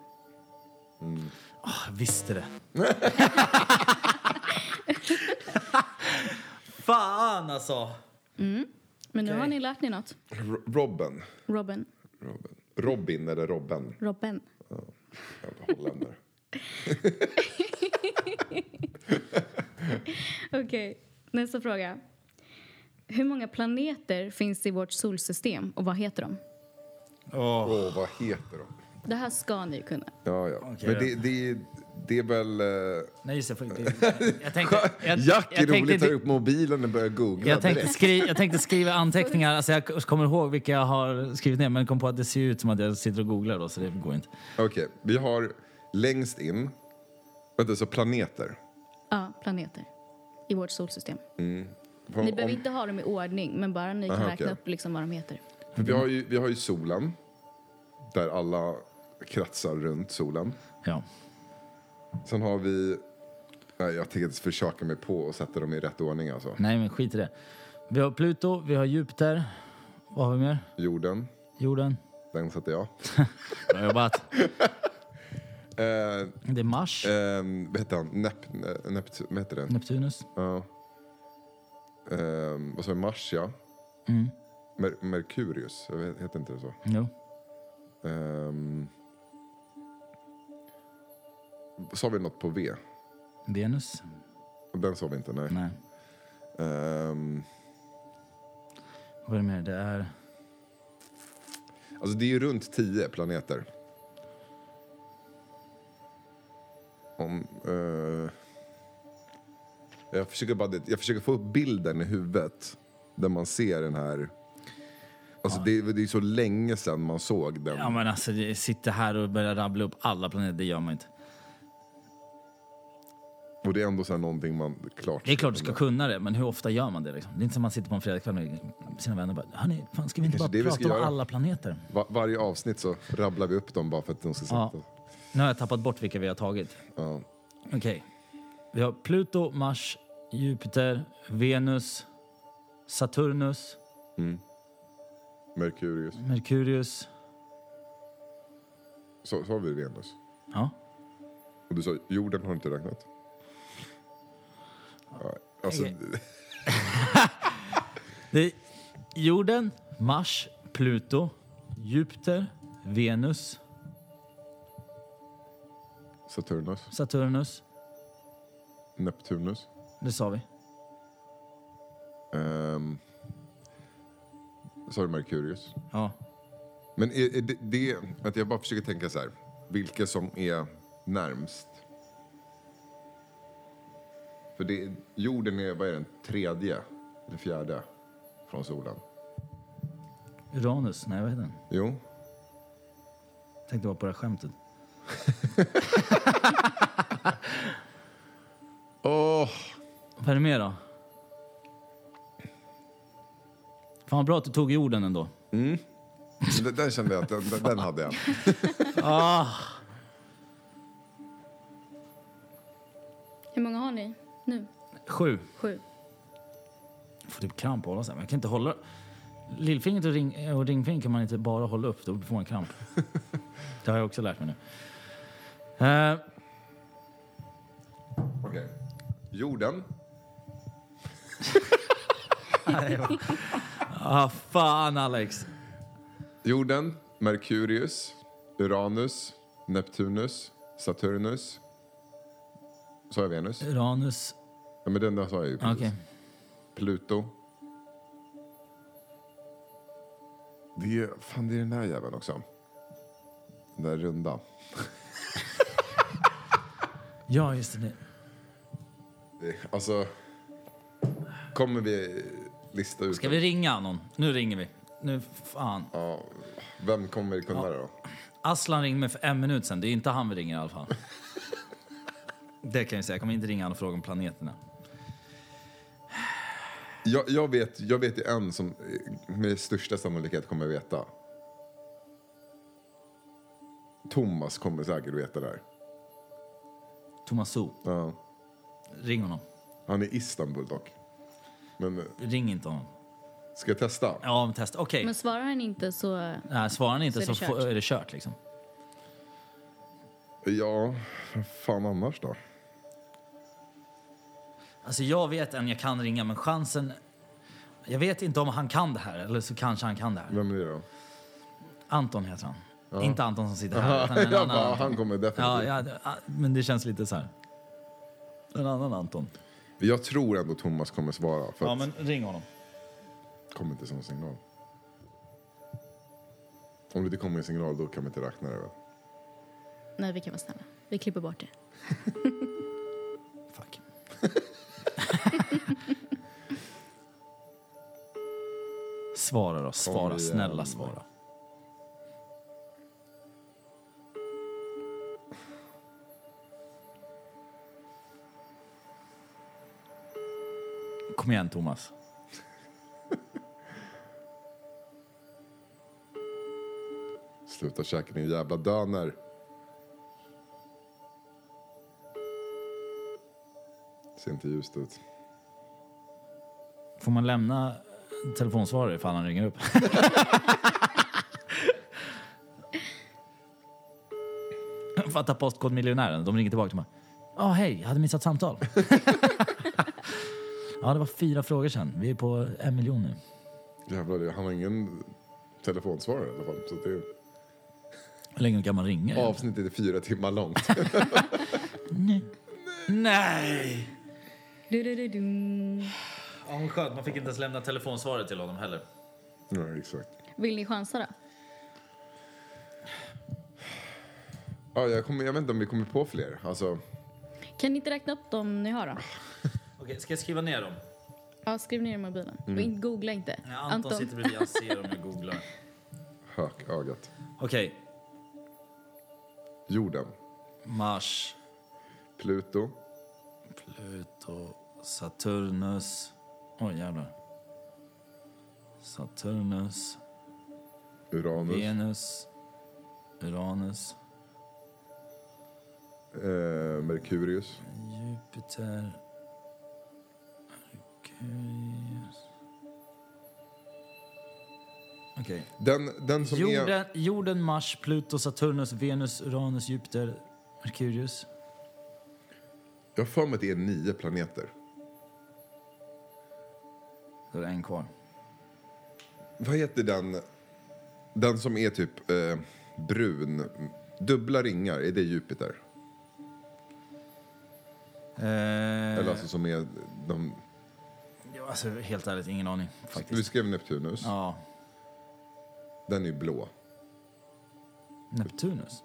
[SPEAKER 1] Ah, jag visste det. Fan alltså!
[SPEAKER 3] Men nu
[SPEAKER 1] Okej.
[SPEAKER 3] har ni lärt er något.
[SPEAKER 2] Ro- Robben.
[SPEAKER 3] Robben.
[SPEAKER 2] Robin. Robin eller Robben.
[SPEAKER 3] Robben.
[SPEAKER 2] Jävla Typ, holländare.
[SPEAKER 3] Okej, nästa fråga. Hur många planeter finns i vårt solsystem och vad heter de?
[SPEAKER 2] Åh, vad heter de?
[SPEAKER 3] Det här ska ni ju kunna.
[SPEAKER 2] Ja, ja.
[SPEAKER 1] Okej.
[SPEAKER 2] Men det, det, det är väl... eh,
[SPEAKER 1] Nej, just det. för- det- Jag tänkte, jag,
[SPEAKER 2] Jack är
[SPEAKER 1] jag tänkte,
[SPEAKER 2] rolig, tar upp mobilen och börjar googla
[SPEAKER 1] jag tänkte,
[SPEAKER 2] direkt.
[SPEAKER 1] skri, jag tänkte skriva anteckningar. Alltså jag kommer ihåg vilka jag har skrivit ner men kom på att det ser ut som att jag sitter och googlar då så det går inte.
[SPEAKER 2] Okej, vi har längst in... Vänta, så planeter.
[SPEAKER 3] Ja, planeter i vårt solsystem.
[SPEAKER 2] Om,
[SPEAKER 3] Ni behöver
[SPEAKER 2] om,
[SPEAKER 3] inte ha dem i ordning, men bara ni kan
[SPEAKER 2] Aha,
[SPEAKER 3] räkna
[SPEAKER 2] okej.
[SPEAKER 3] upp liksom vad de heter.
[SPEAKER 2] vi, har ju, vi har ju solen, där alla kretsar runt solen.
[SPEAKER 1] Ja.
[SPEAKER 2] Sen har vi... Nej, jag tänker inte försöka mig på att sätta dem i rätt ordning. Alltså.
[SPEAKER 1] Nej men skit i det. Vi har Pluto, vi har Jupiter. Vad har vi mer?
[SPEAKER 2] Jorden,
[SPEAKER 1] Jorden.
[SPEAKER 2] den satte jag.
[SPEAKER 1] Bra jobbat.
[SPEAKER 2] Eh, ehm,
[SPEAKER 1] Det är Mars.
[SPEAKER 2] eh, vad heter han? Nep, Neptun, vad heter det?
[SPEAKER 1] Neptunus.
[SPEAKER 2] Ja. ehm, vad sa jag, Mars ja. Mer- Merkurius, jag vet, heter inte det så?
[SPEAKER 1] Jo.
[SPEAKER 2] Ehm, sa vi något på V?
[SPEAKER 1] Venus?
[SPEAKER 2] Den sa vi inte, nej.
[SPEAKER 1] Nej.
[SPEAKER 2] Ehm,
[SPEAKER 1] Vad är det mer? Det är...
[SPEAKER 2] alltså det är ju runt 10 planeter. Om, eh, jag, försöker bara, jag försöker få upp bilden i huvudet där man ser den här... Alltså det, det är så länge sedan man såg den.
[SPEAKER 1] Ja men alltså, det- sitta här och börja rabbla upp alla planeter, det gör man inte.
[SPEAKER 2] Och det är ändå så här någonting man klart...
[SPEAKER 1] Det är klart du ska kunna det, men hur ofta gör man det? Liksom? Det är inte som man sitter på en fredagskväll med sina vänner och bara Hörni, fan, ska vi inte
[SPEAKER 2] Kanske det
[SPEAKER 1] bara
[SPEAKER 2] vi
[SPEAKER 1] prata
[SPEAKER 2] ska
[SPEAKER 1] om
[SPEAKER 2] göra."
[SPEAKER 1] alla planeter?
[SPEAKER 2] Va- varje avsnitt så rabblar vi upp dem bara för att de ska sätta...
[SPEAKER 1] Ja. Nu har jag tappat bort vilka vi har tagit.
[SPEAKER 2] Ja.
[SPEAKER 1] Okej. Vi har Pluto, Mars, Jupiter, Venus, Saturnus,
[SPEAKER 2] Merkurius.
[SPEAKER 1] Merkurius.
[SPEAKER 2] Så sa vi Venus.
[SPEAKER 1] Ja.
[SPEAKER 2] Och du sa jorden har inte räknat. Ja, alltså,
[SPEAKER 1] Okej. Det är jorden, Mars, Pluto, Jupiter, Venus,
[SPEAKER 2] Saturnus,
[SPEAKER 1] Saturnus.
[SPEAKER 2] Neptunus.
[SPEAKER 1] Det sa vi.
[SPEAKER 2] Um, sa du Merkurius?
[SPEAKER 1] Ja.
[SPEAKER 2] Men är, är det, det, att jag bara försöker tänka så här. Vilka som är närmst. För det, jorden är, vad är den, tredje eller fjärde från solen?
[SPEAKER 1] Uranus. Nej, vad heter den?
[SPEAKER 2] Jo,
[SPEAKER 1] Tänkte bara på det här skämtet.
[SPEAKER 2] Åh!
[SPEAKER 1] Vad är det mer då? Fan vad bra att du tog jorden ändå.
[SPEAKER 2] Den, den kände jag att den, den- den hade jag.
[SPEAKER 1] Ah.
[SPEAKER 3] Hur många har ni nu?
[SPEAKER 1] Sju.
[SPEAKER 3] Sju.
[SPEAKER 1] Jag får typ kramp av hålla så här. men Jag kan inte hålla... Lillfingret och, ring, och ringfingret kan man inte bara hålla upp, då får man kramp. Det har jag också lärt mig nu. Eh,
[SPEAKER 2] Okej. Jorden.
[SPEAKER 1] ah, fan Alex.
[SPEAKER 2] Jorden, Merkurius, Uranus, Neptunus, Saturnus. Sa jag Venus?
[SPEAKER 1] Uranus.
[SPEAKER 2] Ja, men den där sa jag ju
[SPEAKER 1] Okej.
[SPEAKER 2] precis. Pluto. Det är, fan, det är den här jäveln också. Den där runda.
[SPEAKER 1] Ja, just det.
[SPEAKER 2] Det- Alltså, kommer vi lista ut
[SPEAKER 1] Ska
[SPEAKER 2] dem?
[SPEAKER 1] vi ringa någon? Nu ringer vi. Nu, fan.
[SPEAKER 2] Ja, vem kommer vi kunna det då?
[SPEAKER 1] Aslan ringde mig för en minut sen. Det är inte han vi ringer i alla fall. Det kan jag säga. Jag kommer inte ringa han och fråga om planeterna.
[SPEAKER 2] Jag, jag, vet, jag vet ju en som med största sannolikhet kommer veta. Thomas kommer säkert veta det här.
[SPEAKER 1] Thomas So.
[SPEAKER 2] Ja.
[SPEAKER 1] Ring honom.
[SPEAKER 2] Han är i Istanbul dock. Men eh,
[SPEAKER 1] Ring inte honom.
[SPEAKER 2] ska jag testa?
[SPEAKER 1] Ja, men testa. Okej.
[SPEAKER 3] Men svarar han inte så...
[SPEAKER 1] Nej, Svarar han inte
[SPEAKER 3] Så är
[SPEAKER 1] så,
[SPEAKER 3] det
[SPEAKER 1] får-
[SPEAKER 3] kört.
[SPEAKER 1] är det kört. Liksom.
[SPEAKER 2] Ja, vad fan annars då?
[SPEAKER 1] Alltså, jag vet en jag kan ringa, men chansen... Jag vet inte om han kan det här, eller så kanske han kan det här.
[SPEAKER 2] Vem är det då?
[SPEAKER 1] Anton heter han. Inte Anton som sitter här, utan en
[SPEAKER 2] jag
[SPEAKER 1] annan
[SPEAKER 2] bara,
[SPEAKER 1] Anton.
[SPEAKER 2] han kommer definitivt.
[SPEAKER 1] Ja, ja, det- ah, men det känns lite så här. En annan Anton.
[SPEAKER 2] Jag tror ändå Thomas kommer svara. För
[SPEAKER 1] Ja,
[SPEAKER 2] att
[SPEAKER 1] men ring honom.
[SPEAKER 2] det kommer inte som signal. Om det inte kommer en signal då kan vi inte räkna det väl?
[SPEAKER 3] Nej, vi kan vara snälla. Vi klipper bort det.
[SPEAKER 1] Fuck. svara då. Svara.
[SPEAKER 2] igen.
[SPEAKER 1] Snälla svara. Kom igen, Thomas.
[SPEAKER 2] Sluta käka din jävla döner. Ser inte ljust ut.
[SPEAKER 1] Får man lämna telefonsvarare ifall han ringer upp? Fatta "Ah, Postkodmiljonären. De ringer tillbaka till mig. Ja, hej. Jag hade missat samtal. Ja, det var fyra frågor sen. Vi är på en miljon nu.
[SPEAKER 2] Jävlar, det- han har ingen telefonsvarare i alla fall. Så det
[SPEAKER 1] Hur länge kan man ringa?
[SPEAKER 2] är, avsnittet är fyra timmar långt.
[SPEAKER 1] Nej!
[SPEAKER 3] Du-du-du-dum.
[SPEAKER 1] Ja, vad skönt. Man fick inte ens lämna telefonsvaret till honom heller.
[SPEAKER 2] ja, exakt.
[SPEAKER 3] Vill ni chansa då?
[SPEAKER 2] Ja, jag, kommer, jag vet inte om vi kommer på fler. Alltså,
[SPEAKER 3] Kan ni inte räkna upp dem ni har då?
[SPEAKER 1] Okej, ska jag skriva ner dem?
[SPEAKER 3] Ja, skriv ner i mobilen.
[SPEAKER 2] Mm.
[SPEAKER 3] Och in- googla inte.
[SPEAKER 1] Ja, Anton, sitter bredvid. Han ser om jag googlar.
[SPEAKER 2] hökögat.
[SPEAKER 1] Okej.
[SPEAKER 2] Jorden.
[SPEAKER 1] Mars,
[SPEAKER 2] Pluto.
[SPEAKER 1] Pluto, Saturnus. Oj, jävlar. Saturnus,
[SPEAKER 2] Uranus.
[SPEAKER 1] Venus, Uranus,
[SPEAKER 2] Eh, Merkurius.
[SPEAKER 1] Jupiter, Merkurius. Okej.
[SPEAKER 2] Den, den som är...
[SPEAKER 1] Jorden, jorden, Mars, Pluto, Saturnus, Venus, Uranus, Jupiter, Merkurius.
[SPEAKER 2] Jag har för mig att det är nio planeter.
[SPEAKER 1] Då är det en kvar.
[SPEAKER 2] Vad heter den? Den som är typ eh, brun. Dubbla ringar, är det Jupiter? Eller
[SPEAKER 1] Eh,
[SPEAKER 2] alltså som är... De,
[SPEAKER 1] ja, alltså, helt ärligt, ingen aning
[SPEAKER 2] vi
[SPEAKER 1] faktiskt.
[SPEAKER 2] skrev Neptunus.
[SPEAKER 1] Ja,
[SPEAKER 2] Den är blå.
[SPEAKER 1] Neptunus.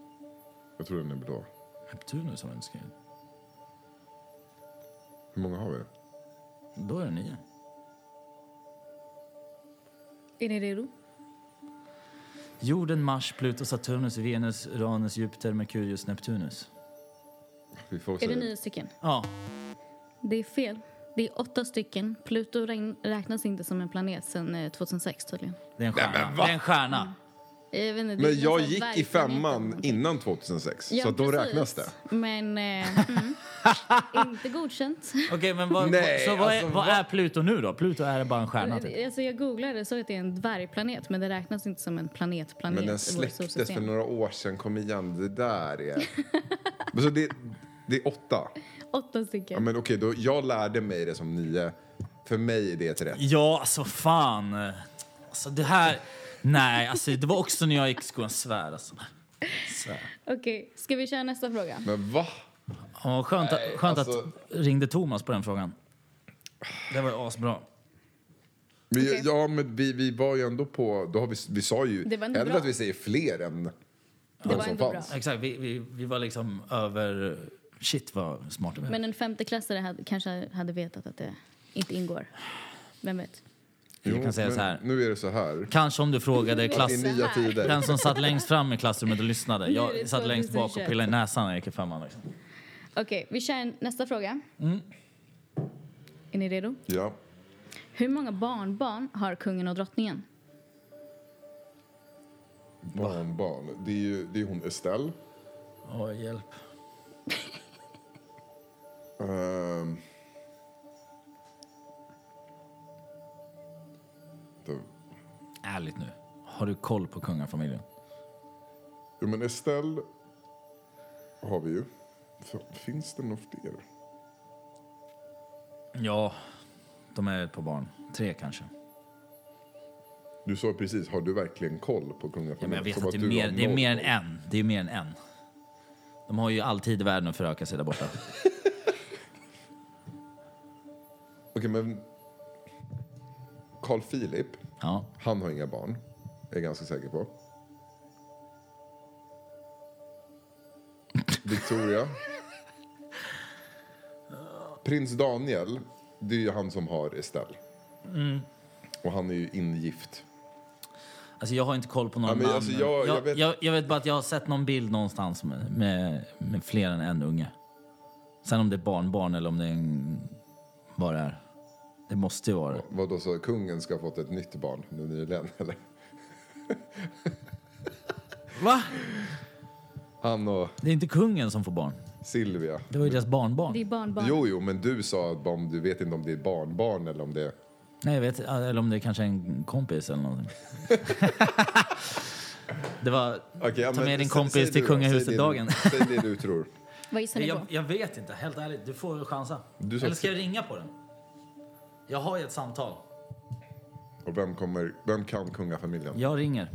[SPEAKER 2] Jag tror den är blå.
[SPEAKER 1] Neptunus har vi inte skrivit.
[SPEAKER 2] Hur många har vi?
[SPEAKER 1] Då är det nio.
[SPEAKER 3] Är ni redo?
[SPEAKER 1] Jorden, Mars, Pluto, Saturnus, Venus, Uranus, Jupiter, Merkurius, Neptunus.
[SPEAKER 2] Vi får
[SPEAKER 3] Är det
[SPEAKER 2] säga-
[SPEAKER 3] nio stycken?
[SPEAKER 1] Ja,
[SPEAKER 3] Det är fel. Det är åtta stycken. Pluto regn- räknas inte som en planet sedan eh, 2006 tydligen.
[SPEAKER 1] det är en stjärna.
[SPEAKER 2] men va?
[SPEAKER 1] det är en stjärna.
[SPEAKER 3] Jag vet inte, det
[SPEAKER 2] Men
[SPEAKER 3] är någon
[SPEAKER 2] jag
[SPEAKER 3] sån här
[SPEAKER 2] gick i
[SPEAKER 3] dvärgplanet eller
[SPEAKER 2] femman
[SPEAKER 3] någonting.
[SPEAKER 2] innan 2006,
[SPEAKER 3] Ja,
[SPEAKER 2] så att då
[SPEAKER 3] precis.
[SPEAKER 2] räknas det.
[SPEAKER 3] Men eh, mm, inte godkänt.
[SPEAKER 1] Okej, men vad,
[SPEAKER 2] Nej,
[SPEAKER 1] så vad, är,
[SPEAKER 2] alltså,
[SPEAKER 1] vad
[SPEAKER 2] va?
[SPEAKER 1] är Pluto nu då? Pluto är bara en stjärna typ.
[SPEAKER 3] Alltså jag googlade och såg att det är en dvärgplanet men det räknas inte som en planetplanet
[SPEAKER 2] Men
[SPEAKER 3] i
[SPEAKER 2] den
[SPEAKER 3] vårt
[SPEAKER 2] släpptes för
[SPEAKER 3] solsystem.
[SPEAKER 2] några år sedan. Kom igen, det där är... Men så det, det är åtta.
[SPEAKER 3] Åtta
[SPEAKER 2] Ja,
[SPEAKER 3] stycken.
[SPEAKER 2] men okej, då, jag lärde mig det som nio. För mig är det ett rätt.
[SPEAKER 1] Ja, alltså fan. Alltså det här... Nej, alltså det var också när jag gick i skolan. Svär alltså. Svär.
[SPEAKER 3] Okej, ska vi köra nästa fråga?
[SPEAKER 2] Men va?
[SPEAKER 1] Ja, skönt att-
[SPEAKER 2] Nej,
[SPEAKER 1] skönt
[SPEAKER 2] alltså-
[SPEAKER 1] att ringde Thomas på den frågan. Det var ju asbra.
[SPEAKER 2] Men,
[SPEAKER 3] Okej.
[SPEAKER 2] Ja, men vi, vi var ju ändå på... Då har vi, vi sa ju
[SPEAKER 3] Det var inte
[SPEAKER 2] hellre
[SPEAKER 3] bra.
[SPEAKER 2] att vi säger fler än
[SPEAKER 3] var
[SPEAKER 2] de som
[SPEAKER 3] ändå
[SPEAKER 2] fanns.
[SPEAKER 3] bra.
[SPEAKER 1] Exakt, vi, vi, vi var liksom över... Shit vad smarta vi är.
[SPEAKER 3] Men en femteklassare hade, kanske hade vetat att det inte ingår. Vem vet?
[SPEAKER 1] Jag kan säga
[SPEAKER 2] men
[SPEAKER 1] så här.
[SPEAKER 2] Nu är det så här.
[SPEAKER 1] Kanske om du frågade klass...
[SPEAKER 2] Det är nya tider.
[SPEAKER 1] Den som satt längst fram i klassrummet och lyssnade.
[SPEAKER 3] Nu är det
[SPEAKER 1] Jag satt längst bak och
[SPEAKER 3] 2021.
[SPEAKER 1] pillade i näsan när jag gick i femman. Liksom.
[SPEAKER 3] Okej, vi kör en- nästa fråga. Är ni redo?
[SPEAKER 2] Ja.
[SPEAKER 3] Hur många barnbarn har kungen och drottningen?
[SPEAKER 2] Barnbarn. Barn. Det är ju det är hon Estelle.
[SPEAKER 1] Åh, hjälp.
[SPEAKER 2] Ehm. Då-
[SPEAKER 1] Ärligt nu. Har du koll på kungafamiljen?
[SPEAKER 2] Jo, men Estelle har vi ju. F- Finns det några fler?
[SPEAKER 1] Ja, de är ett par barn. Tre kanske.
[SPEAKER 2] Du sa precis, har du verkligen koll på kungafamiljen?
[SPEAKER 1] Ja, men jag vet
[SPEAKER 2] Som
[SPEAKER 1] att det är,
[SPEAKER 2] du
[SPEAKER 1] mer,
[SPEAKER 2] har
[SPEAKER 1] det är
[SPEAKER 2] noll
[SPEAKER 1] mer än
[SPEAKER 2] koll.
[SPEAKER 1] en. Det är mer än en. De har ju alltid i världen att föröka sig där borta.
[SPEAKER 2] Okej, men Carl Philip,
[SPEAKER 1] Ja.
[SPEAKER 2] han har inga barn. Är jag ganska säker på. Victoria. Prins Daniel, det är ju han som har Estelle. Och han är ju ingift.
[SPEAKER 1] Alltså jag har inte koll på några
[SPEAKER 2] Ja, men
[SPEAKER 1] namn.
[SPEAKER 2] alltså, jag- jag
[SPEAKER 1] jag,
[SPEAKER 2] vet-
[SPEAKER 1] jag, jag vet bara att jag har sett någon bild någonstans med, med, med fler än en unge. Sen om det är barnbarn eller om det är en, vad det är. Det måste ju vara det.
[SPEAKER 2] Vad då så kungen ska ha fått ett nytt barn nu nyligen eller?
[SPEAKER 1] Va?
[SPEAKER 2] Han och
[SPEAKER 1] Det är inte kungen som får barn.
[SPEAKER 2] Silvia.
[SPEAKER 1] Det var ju deras
[SPEAKER 3] Det är
[SPEAKER 1] barnbarn.
[SPEAKER 3] barnbarn.
[SPEAKER 2] Jo, jo, men du sa att om, du vet inte om det är barnbarn eller om det är...
[SPEAKER 1] Nej, jag vet Eller om det kanske är en kompis eller någonting. det var...
[SPEAKER 2] Okej, ja,
[SPEAKER 1] Ta
[SPEAKER 2] men
[SPEAKER 1] med din
[SPEAKER 2] sä-
[SPEAKER 1] kompis
[SPEAKER 2] säg du
[SPEAKER 1] till
[SPEAKER 2] då,
[SPEAKER 1] kungahuset
[SPEAKER 2] säg det du-
[SPEAKER 1] dagen.
[SPEAKER 2] Säg det du tror.
[SPEAKER 3] Vad gissar ni på?
[SPEAKER 1] Jag, jag vet inte, helt ärligt. Du får chansa.
[SPEAKER 2] Du sa-
[SPEAKER 1] Eller ska jag ringa på den? Jag har ju ett samtal.
[SPEAKER 2] Och vem, kommer, vem kan kungafamiljen?
[SPEAKER 1] Jag ringer.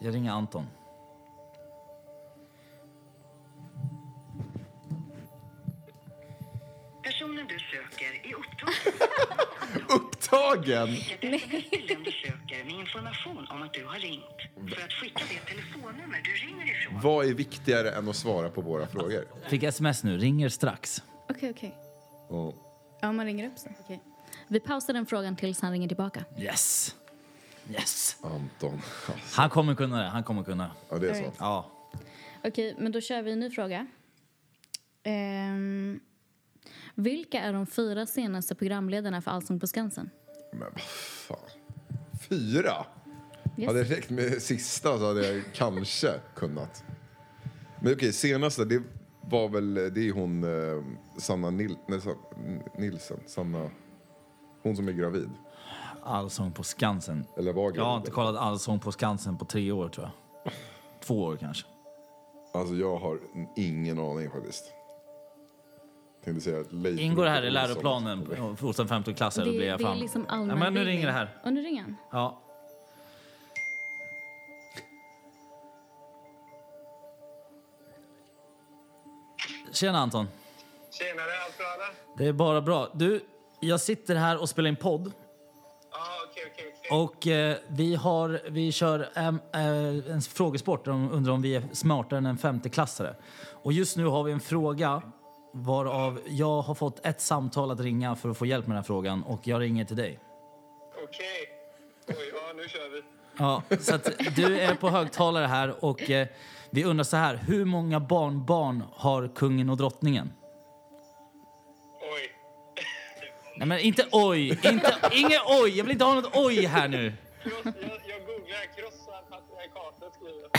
[SPEAKER 1] Jag ringer Anton.
[SPEAKER 4] Personen du söker är upptagen.
[SPEAKER 2] Upptagen!
[SPEAKER 4] Ett sms till den du söker med information om att du har ringt. För att skicka det telefonnummer du ringer ifrån
[SPEAKER 2] Vad är viktigare än att svara på våra frågor?
[SPEAKER 1] Fick sms nu. Ringer strax.
[SPEAKER 3] Okej, okej.
[SPEAKER 2] Ja.
[SPEAKER 5] Ja, man ringer upp sen.
[SPEAKER 3] Vi pausar den frågan tills han ringer tillbaka.
[SPEAKER 1] Yes! Yes!
[SPEAKER 2] Anton.
[SPEAKER 1] Han kommer kunna det. Han kommer kunna.
[SPEAKER 2] Ja, det är så.
[SPEAKER 1] Ja.
[SPEAKER 3] Okej, men då kör vi en ny fråga. Ehm, vilka är de fyra senaste programledarna för Allsång på Skansen?
[SPEAKER 2] Men vad fan. Fyra?
[SPEAKER 3] Yes.
[SPEAKER 2] Hade det räckt med sista så hade jag kanske kunnat. Men okej, senaste det var väl, det är ju hon eh, Sanna Nil, nej, San- Nilsen, Sanna, hon som är gravid.
[SPEAKER 1] Allsång på Skansen.
[SPEAKER 2] Eller var gravid.
[SPEAKER 1] Jag har inte kollat Allsång på Skansen på tre år, tror jag. Två år kanske.
[SPEAKER 2] Alltså jag har ingen aning faktiskt. Tänkte säga Leif
[SPEAKER 1] Ingår det här i
[SPEAKER 2] Olsson.
[SPEAKER 1] läroplanen hos en 15-klassare
[SPEAKER 3] Det,
[SPEAKER 1] blir jag
[SPEAKER 3] det är
[SPEAKER 1] fan...
[SPEAKER 3] liksom
[SPEAKER 1] ja,
[SPEAKER 3] allmän
[SPEAKER 1] men nu
[SPEAKER 3] bildning.
[SPEAKER 1] ringer det här.
[SPEAKER 3] Och nu ringer han.
[SPEAKER 1] Ja. Tjena Anton.
[SPEAKER 6] Tjenare, allt bra eller?
[SPEAKER 1] Det är bara bra. Du, jag sitter här och spelar in podd.
[SPEAKER 6] Ja, okej, okej, okej.
[SPEAKER 1] Och eh, vi, har, vi kör em, eh, en frågesport där de undrar om vi är smartare än en femteklassare. Och just nu har vi en fråga varav jag har fått ett samtal att ringa för att få hjälp med den här frågan och jag ringer till dig.
[SPEAKER 6] Okej. Oj, ja, nu kör vi.
[SPEAKER 1] Ja, så att du är på högtalare här och eh, vi undrar så här, hur många barnbarn har kungen och drottningen?
[SPEAKER 6] Oj.
[SPEAKER 1] Nej men inte oj, inte, inget oj, jag vill inte ha något oj här nu.
[SPEAKER 6] Kross, jag, jag googlar krossar patriarkatet skriver jag.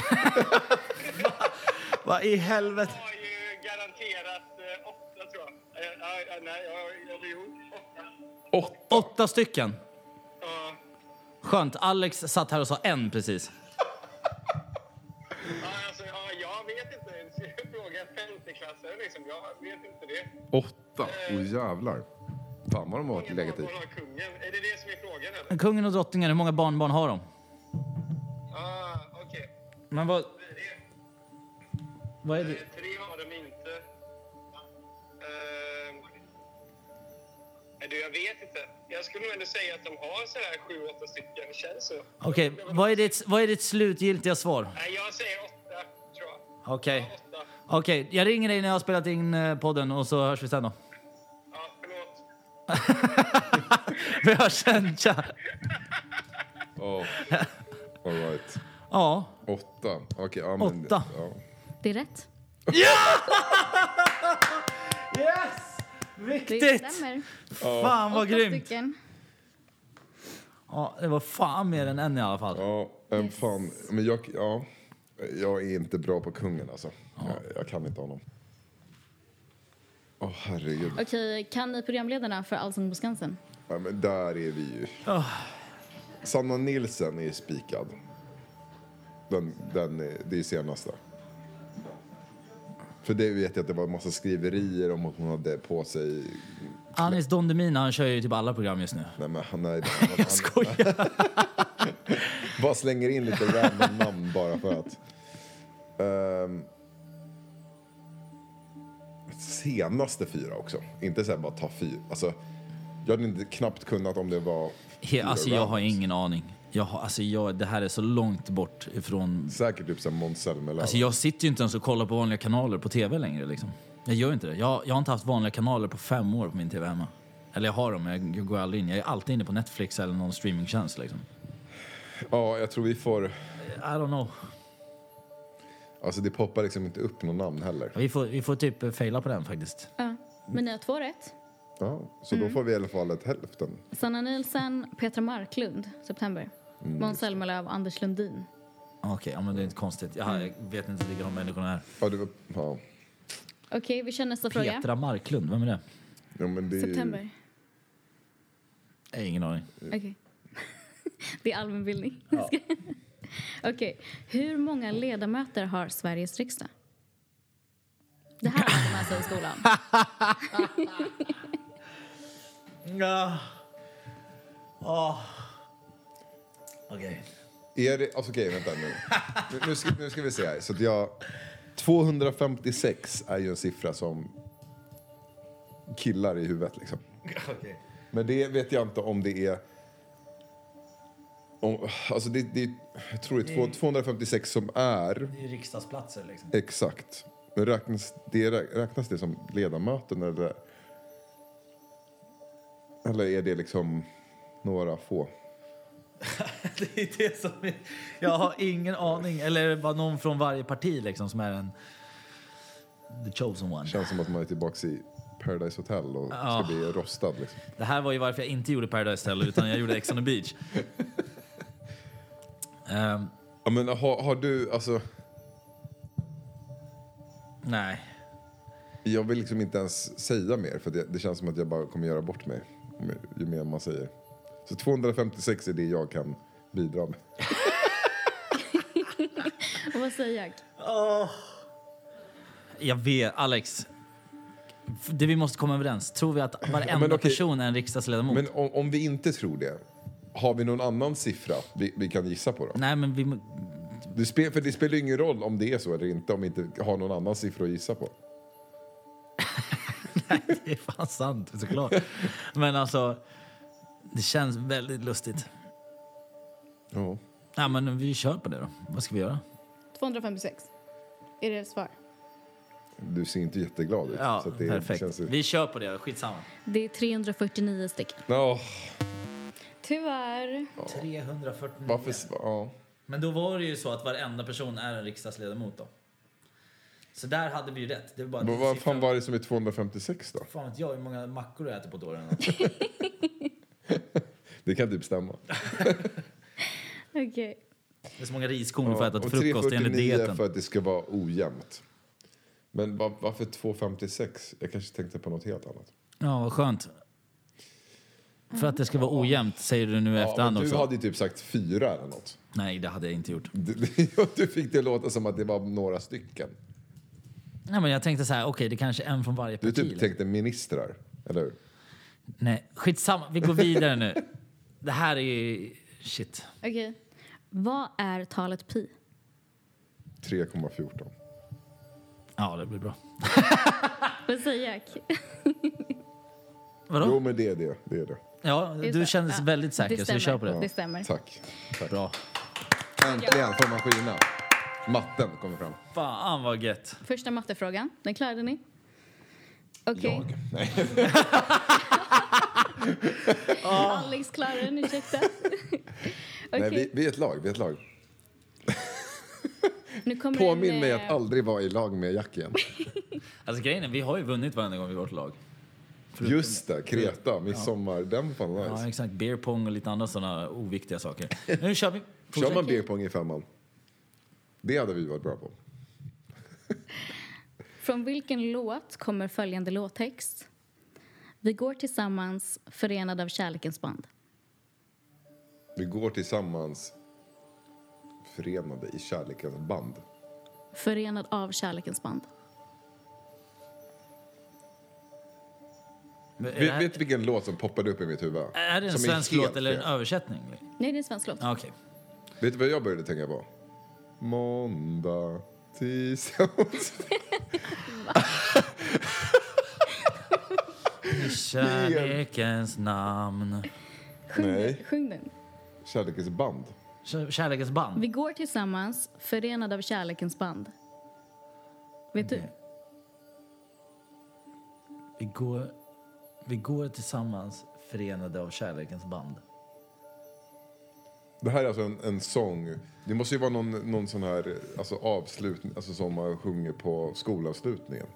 [SPEAKER 1] Vad i helvete?
[SPEAKER 6] Jag har ju garanterat eh, åtta tror jag. Eh, ja, ja, nej, jag, jag, jo, åtta.
[SPEAKER 1] Åtta stycken.
[SPEAKER 6] Ja,
[SPEAKER 1] Skönt, Alex satt här och sa en precis.
[SPEAKER 6] ja, alltså, ja, jag vet inte. Fråga en femteklassare liksom. Jag vet inte det.
[SPEAKER 2] Åtta, åh jävlar. Fan vad de har
[SPEAKER 6] Hur
[SPEAKER 2] legat i.
[SPEAKER 6] har kungen? Är det det som är frågan eller?
[SPEAKER 1] Men Kungen och drottningen, hur många barnbarn har de?
[SPEAKER 6] Ah, okej.
[SPEAKER 1] Men vad,
[SPEAKER 6] Det-
[SPEAKER 1] vad är
[SPEAKER 6] Eh,
[SPEAKER 1] det?
[SPEAKER 6] Tre har de inte. Ehm, nej, du, jag vet inte. Jag skulle nog ändå säga att de har sådär sju, åtta stycken. Det känns så.
[SPEAKER 1] Okej, vad, är ditt, vad är ditt slutgiltiga svar?
[SPEAKER 6] Nej, jag säger åtta, tror jag.
[SPEAKER 1] Okej.
[SPEAKER 6] Ja, åtta.
[SPEAKER 1] Okej, jag ringer dig när jag har spelat in eh, podden och så hörs vi sen då.
[SPEAKER 6] Ja, förlåt.
[SPEAKER 1] Vi hörs sen, tja!
[SPEAKER 2] Ja. All right.
[SPEAKER 1] Ja,
[SPEAKER 2] Åtta. Okej, ja, men,
[SPEAKER 1] Åtta.
[SPEAKER 2] Ja.
[SPEAKER 3] Det är rätt.
[SPEAKER 1] Yes!
[SPEAKER 3] Det
[SPEAKER 1] Viktigt!
[SPEAKER 3] stämmer.
[SPEAKER 1] Fan vad
[SPEAKER 5] Åtta
[SPEAKER 1] grymt!
[SPEAKER 5] stycken.
[SPEAKER 1] Ja, det var fan mer än en i alla fall.
[SPEAKER 2] Ja, men fan. Men jag, ja, jag är inte bra på kungen alltså. Jag, jag kan inte honom. Åh herregud.
[SPEAKER 3] Okej, kan ni programledarna för Allsång på Skansen?
[SPEAKER 2] Ja, men där är vi ju.
[SPEAKER 1] Ah.
[SPEAKER 2] Sanna Nilsen är spikad. Den, den är, det är senaste. För det vet jag att det var en massa skriverier om att hon hade på sig...
[SPEAKER 1] Anis Don Demina, han kör ju typ alla program just nu.
[SPEAKER 2] Nej, men han, nej, han, han,
[SPEAKER 1] Skojar!
[SPEAKER 2] bara slänger in lite random namn bara för att. Ehm, senaste fyra också. Inte så här bara ta fyra. Alltså, jag hade inte knappt kunnat om det var...
[SPEAKER 1] He,
[SPEAKER 2] fyra
[SPEAKER 1] alltså jag har
[SPEAKER 2] randoms.
[SPEAKER 1] ingen aning. Jag har, alltså jag, det här är så långt bort ifrån...
[SPEAKER 2] Säkert typ som Måns Zelmerlöw.
[SPEAKER 1] Alltså jag sitter ju inte ens och kollar på vanliga kanaler på tv längre liksom. Jag gör ju inte det. Jag, jag har inte haft vanliga kanaler på fem år på min tv hemma. Eller jag har dem, men jag går aldrig in. Jag är alltid inne på Netflix eller någon streamingtjänst liksom.
[SPEAKER 2] Ja, jag tror vi får...
[SPEAKER 1] I don't know.
[SPEAKER 2] Alltså det poppar liksom inte upp något namn heller.
[SPEAKER 1] Vi får, vi får typ eh, faila på den faktiskt.
[SPEAKER 3] Ja. Men ni har två rätt.
[SPEAKER 2] Ja, så då får vi i alla fall ett hälften.
[SPEAKER 3] Sanna Nielsen, Petra Marklund, September.
[SPEAKER 1] Mm,
[SPEAKER 3] Måns Zelmerlöw, Anders Lundin.
[SPEAKER 1] Ah, Okej, ja, men det är inte konstigt. Jag, jag vet inte vilka de människorna är.
[SPEAKER 2] Ja, det var... Ja.
[SPEAKER 3] Okej, vi kör nästa fråga.
[SPEAKER 1] Petra Marklund, vem är det?
[SPEAKER 2] Ja, men det är ju-
[SPEAKER 3] September.
[SPEAKER 1] Jag har ingen aning.
[SPEAKER 3] Okej. det är allmänbildning. Okej. Hur många ledamöter har Sveriges riksdag? Det här har man med sig i skolan.
[SPEAKER 1] Ja. Åh. Okej.
[SPEAKER 2] Är det, alltså, okej, vänta nu. Nu, nu, ska, nu ska vi se här. Så att jag, 256 är ju en siffra som killar i huvudet liksom.
[SPEAKER 1] Okej.
[SPEAKER 2] Men det vet jag inte om det är... Om, alltså det, det, jag tror det är två- 256 som är
[SPEAKER 1] Det är riksdagsplatser liksom.
[SPEAKER 2] exakt. Men räknas det, räknas det som ledamöten eller? Eller är det liksom några få?
[SPEAKER 1] Det är det som är, jag har ingen aning. Eller är det bara någon från varje parti liksom som är en... The chosen one.
[SPEAKER 2] Känns som att man är tillbaka i Paradise Hotel och ska
[SPEAKER 1] Ja.
[SPEAKER 2] bli rostad liksom.
[SPEAKER 1] Det här var ju varför jag inte gjorde Paradise Hotel utan jag gjorde Ex on the beach. Ehm,
[SPEAKER 2] Ja, men har, har du, alltså,
[SPEAKER 1] nej.
[SPEAKER 2] jag vill liksom inte ens säga mer för det, det känns som att jag bara kommer göra bort mig ju- ju mer man säger. Så 256 är det jag kan bidra med.
[SPEAKER 3] Och vad säger jag?
[SPEAKER 1] Jag vet, Alex. f- Det vi måste komma överens. Tror vi att varenda
[SPEAKER 2] men okej.
[SPEAKER 1] person är en riksdagsledamot?
[SPEAKER 2] Men om, om vi inte tror det, har vi någon annan siffra vi, vi kan gissa på då?
[SPEAKER 1] Nej, men vi... må-
[SPEAKER 2] Det spel, för det spelar ju ingen roll om det är så eller inte om vi inte har någon annan siffra att gissa på.
[SPEAKER 1] Det är fan sant, såklart. Men alltså, det känns väldigt lustigt.
[SPEAKER 2] Ja.
[SPEAKER 1] Ja, men vi kör på det då. Vad ska vi göra?
[SPEAKER 3] 256. Är det ett svar?
[SPEAKER 2] Du ser inte jätteglad ut.
[SPEAKER 1] Ja,
[SPEAKER 2] så att det
[SPEAKER 1] perfekt.
[SPEAKER 2] Känns ju...
[SPEAKER 1] Vi kör på det då. Skitsamma.
[SPEAKER 3] Det är 349 stycken.
[SPEAKER 2] Ja,
[SPEAKER 3] Tyvärr.
[SPEAKER 1] 349.
[SPEAKER 2] varför... Ja.
[SPEAKER 1] Men då var det ju så att varenda person är en riksdagsledamot då. Så där hade vi ju rätt. Det var bara
[SPEAKER 2] Men Vad fan
[SPEAKER 1] siffran-
[SPEAKER 2] var det som är 256 då?
[SPEAKER 1] Fan vet jag hur många mackor jag äter på ett år eller något.
[SPEAKER 2] Det kan typ stämma.
[SPEAKER 3] Okej.
[SPEAKER 1] Det är så många riskorn du får äta till
[SPEAKER 2] och
[SPEAKER 1] frukost enligt
[SPEAKER 2] 349
[SPEAKER 1] dieten.
[SPEAKER 2] för att det ska vara ojämnt. Men va- varför 256? Jag kanske tänkte på något helt annat.
[SPEAKER 1] Ja, vad skönt. För att det ska vara ojämnt säger du nu i
[SPEAKER 2] Ja,
[SPEAKER 1] efterhand
[SPEAKER 2] men du
[SPEAKER 1] också.
[SPEAKER 2] hade ju typ sagt fyra eller något.
[SPEAKER 1] Nej, det hade jag inte gjort.
[SPEAKER 2] Du, du fick det låta som att det var några stycken.
[SPEAKER 1] Nej, men jag tänkte så här, okej, det kanske är en från varje
[SPEAKER 2] Du
[SPEAKER 1] parti.
[SPEAKER 2] typ
[SPEAKER 1] liksom.
[SPEAKER 2] tänkte ministrar, eller hur?
[SPEAKER 1] Nej, skitsamma. Vi går vidare nu. Det här är ju... Shit.
[SPEAKER 3] Okej. Vad är talet pi?
[SPEAKER 2] 3,14.
[SPEAKER 1] Ja, det blir bra.
[SPEAKER 3] Vad säger jag?
[SPEAKER 1] Vadå?
[SPEAKER 2] Jo, men det är det. det, är det.
[SPEAKER 1] ja,
[SPEAKER 3] Just
[SPEAKER 1] du
[SPEAKER 3] det.
[SPEAKER 1] kändes
[SPEAKER 3] Ja.
[SPEAKER 1] väldigt säker,
[SPEAKER 3] Det
[SPEAKER 1] så vi kör
[SPEAKER 3] stämmer.
[SPEAKER 1] på det.
[SPEAKER 3] Det stämmer.
[SPEAKER 2] Tack. Tack.
[SPEAKER 1] Bra.
[SPEAKER 2] Äntligen får man skina. Matten kommer fram.
[SPEAKER 1] Fan vad gött.
[SPEAKER 3] Första mattefrågan, den klarade ni. Okej. Alex klarade den, ursäkta. Okej,
[SPEAKER 2] Nej, vi, vi är ett lag. Vi är ett lag.
[SPEAKER 3] nu kommer
[SPEAKER 2] Påminn
[SPEAKER 3] en,
[SPEAKER 2] mig
[SPEAKER 3] eh,
[SPEAKER 2] att aldrig vara i lag med Jack igen.
[SPEAKER 1] Alltså grejen är, vi har ju vunnit varenda gång vi varit lag.
[SPEAKER 2] Just det, Kreta, midsommar. Den fan var
[SPEAKER 1] Ja,
[SPEAKER 2] nice.
[SPEAKER 1] exakt. Beer pong och lite andra sådana oviktiga saker. Nu kör vi.
[SPEAKER 2] Kör man beerpong i femman? Det hade vi varit bra på.
[SPEAKER 3] Från vilken låt kommer följande låttext? Vi går tillsammans, förenade av kärlekens band.
[SPEAKER 2] Vi går tillsammans förenade i kärlekens band.
[SPEAKER 3] Förenad av kärlekens band.
[SPEAKER 1] Men Är det,
[SPEAKER 2] Vet,
[SPEAKER 1] här,
[SPEAKER 2] vet vilken låt som poppade upp i mitt huvud?
[SPEAKER 1] är det en
[SPEAKER 2] Som är
[SPEAKER 1] svensk
[SPEAKER 2] helt
[SPEAKER 1] låt eller en
[SPEAKER 2] fel.
[SPEAKER 1] översättning?
[SPEAKER 3] Nej, det är en svensk låt.
[SPEAKER 2] Ah,
[SPEAKER 1] Ja, Okej.
[SPEAKER 2] Vet du vad jag började tänka på? Måndag, tisdag, onsdag.
[SPEAKER 1] I kärlekens namn.
[SPEAKER 3] Sjung, den-
[SPEAKER 2] Nej.
[SPEAKER 3] sjung den.
[SPEAKER 2] Kärlekens band.
[SPEAKER 1] Kär- Kärlekens band.
[SPEAKER 3] Vi går tillsammans, förenade av kärlekens band. Vet du?
[SPEAKER 1] Vi går, vi går tillsammans förenade av kärlekens band.
[SPEAKER 2] Det här är alltså en, en sång. Det måste ju vara någon, någon sån här alltså avslutning, alltså som man sjunger på skolavslutningen.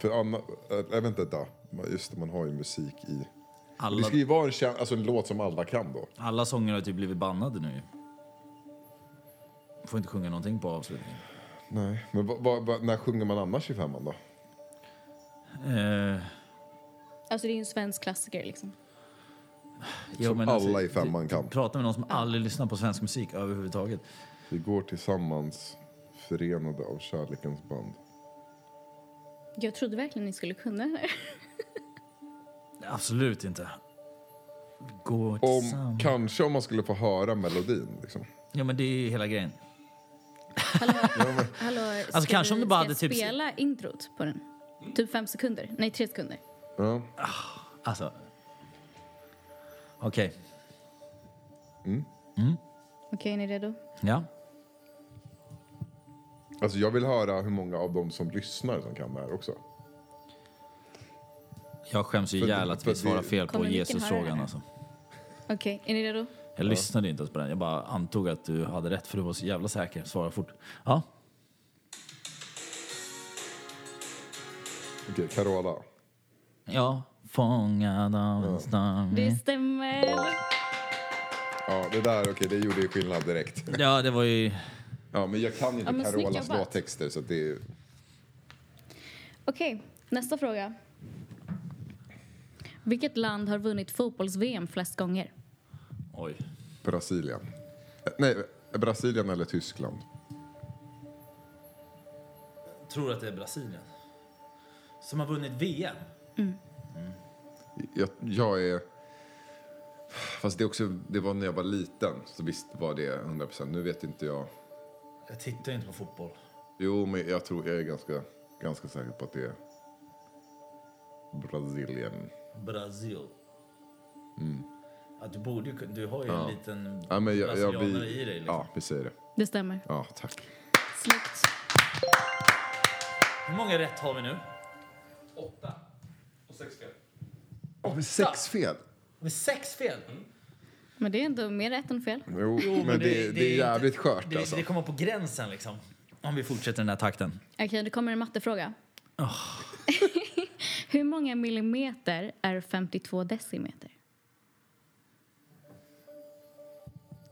[SPEAKER 2] För Anna, äh, vänta, da. just det, man har ju musik i. Det
[SPEAKER 1] Alla,
[SPEAKER 2] ska ju vara en, kär- alltså en låt som alla kan då.
[SPEAKER 1] alla sånger har typ blivit bannade nu. Får inte sjunga någonting på avslutningen.
[SPEAKER 2] Nej. Men vad- vad- vad- när sjunger man annars i femman då?
[SPEAKER 1] Eh,
[SPEAKER 3] Alltså, det är ju en svensk klassiker. Liksom.
[SPEAKER 1] jo, men
[SPEAKER 2] alla i femman
[SPEAKER 1] du-
[SPEAKER 2] kan.
[SPEAKER 1] du Pratar med någon som aldrig lyssnar på svensk musik överhuvudtaget.
[SPEAKER 2] Vi går tillsammans, förenade av kärlekens band.
[SPEAKER 3] Jag trodde verkligen ni skulle kunna det här.
[SPEAKER 1] Absolut inte. Går
[SPEAKER 2] Om,
[SPEAKER 1] tillsammans.
[SPEAKER 2] kanske om man skulle få höra melodin. Liksom.
[SPEAKER 1] Ja, men det är ju hela grejen.
[SPEAKER 3] Hallå, hallå ska
[SPEAKER 1] kanske om
[SPEAKER 3] vi-
[SPEAKER 1] du bara
[SPEAKER 3] ska jag
[SPEAKER 1] hade typ-
[SPEAKER 3] spela introt på den? Typ fem sekunder? Nej, tre sekunder.
[SPEAKER 2] Ja.
[SPEAKER 1] Alltså... Okej.
[SPEAKER 3] Okej, är ni redo?
[SPEAKER 1] Ja.
[SPEAKER 2] Alltså, jag vill höra hur många av dem som lyssnar som kan det här också.
[SPEAKER 1] Jag skäms ju
[SPEAKER 2] För-
[SPEAKER 1] ihjäl att
[SPEAKER 2] för
[SPEAKER 1] vi
[SPEAKER 2] det-
[SPEAKER 1] svarar fel på
[SPEAKER 3] Kommer Mikael höra
[SPEAKER 1] Jesusfrågan.
[SPEAKER 3] det?
[SPEAKER 1] Alltså.
[SPEAKER 3] Okej, är ni redo?
[SPEAKER 1] Jag lyssnade inte ens på den. Jag bara antog att du hade rätt för du var så jävla säker. Svara fort. Ja.
[SPEAKER 2] Okej, Carola.
[SPEAKER 1] Ja. Fångad av en storm.
[SPEAKER 3] Det stämmer.
[SPEAKER 2] Ja, det där okej, det gjorde ju skillnad direkt.
[SPEAKER 1] Ja, det var ju...
[SPEAKER 2] Ja, men jag kan ju inte
[SPEAKER 3] Ja, men snyggt
[SPEAKER 2] Carolas
[SPEAKER 3] jobbat.
[SPEAKER 2] låttexter så att det är...
[SPEAKER 3] Okej, nästa fråga. Vilket land har vunnit fotbolls-VM flest gånger?
[SPEAKER 1] Oj.
[SPEAKER 2] Brasilien. Eh, Nej, Brasilien eller Tyskland.
[SPEAKER 1] Tror att det är Brasilien? Som har vunnit VM?
[SPEAKER 2] Jag, jag är... Fast det, är också, det var när jag var liten, så visst var det 100 procent. Nu vet inte jag.
[SPEAKER 1] Jag tittar inte på fotboll.
[SPEAKER 2] Jo, men jag tror jag är ganska, ganska säker på att det är Brasilien.
[SPEAKER 1] Brasil. Att du borde ju kun- Du har ju en liten
[SPEAKER 2] Mm. Ja, men jag, jag,
[SPEAKER 1] brasilianare
[SPEAKER 2] vi,
[SPEAKER 1] i dig. Liksom.
[SPEAKER 2] ja, vi säger det.
[SPEAKER 3] Det stämmer.
[SPEAKER 2] Ja, tack.
[SPEAKER 3] Snyggt.
[SPEAKER 1] Hur många rätt har vi nu?
[SPEAKER 2] Har vi sex fel?
[SPEAKER 1] Med sex fel?
[SPEAKER 3] Men det är ändå mer rätt än fel.
[SPEAKER 2] Jo, men, det, det, är
[SPEAKER 1] inte-
[SPEAKER 2] jävligt skört
[SPEAKER 1] det,
[SPEAKER 2] alltså.
[SPEAKER 1] det kommer på gränsen liksom. Om vi fortsätter den här takten.
[SPEAKER 3] Okej, det kommer en mattefråga.
[SPEAKER 1] Oh.
[SPEAKER 3] Hur många millimeter är 52 decimeter?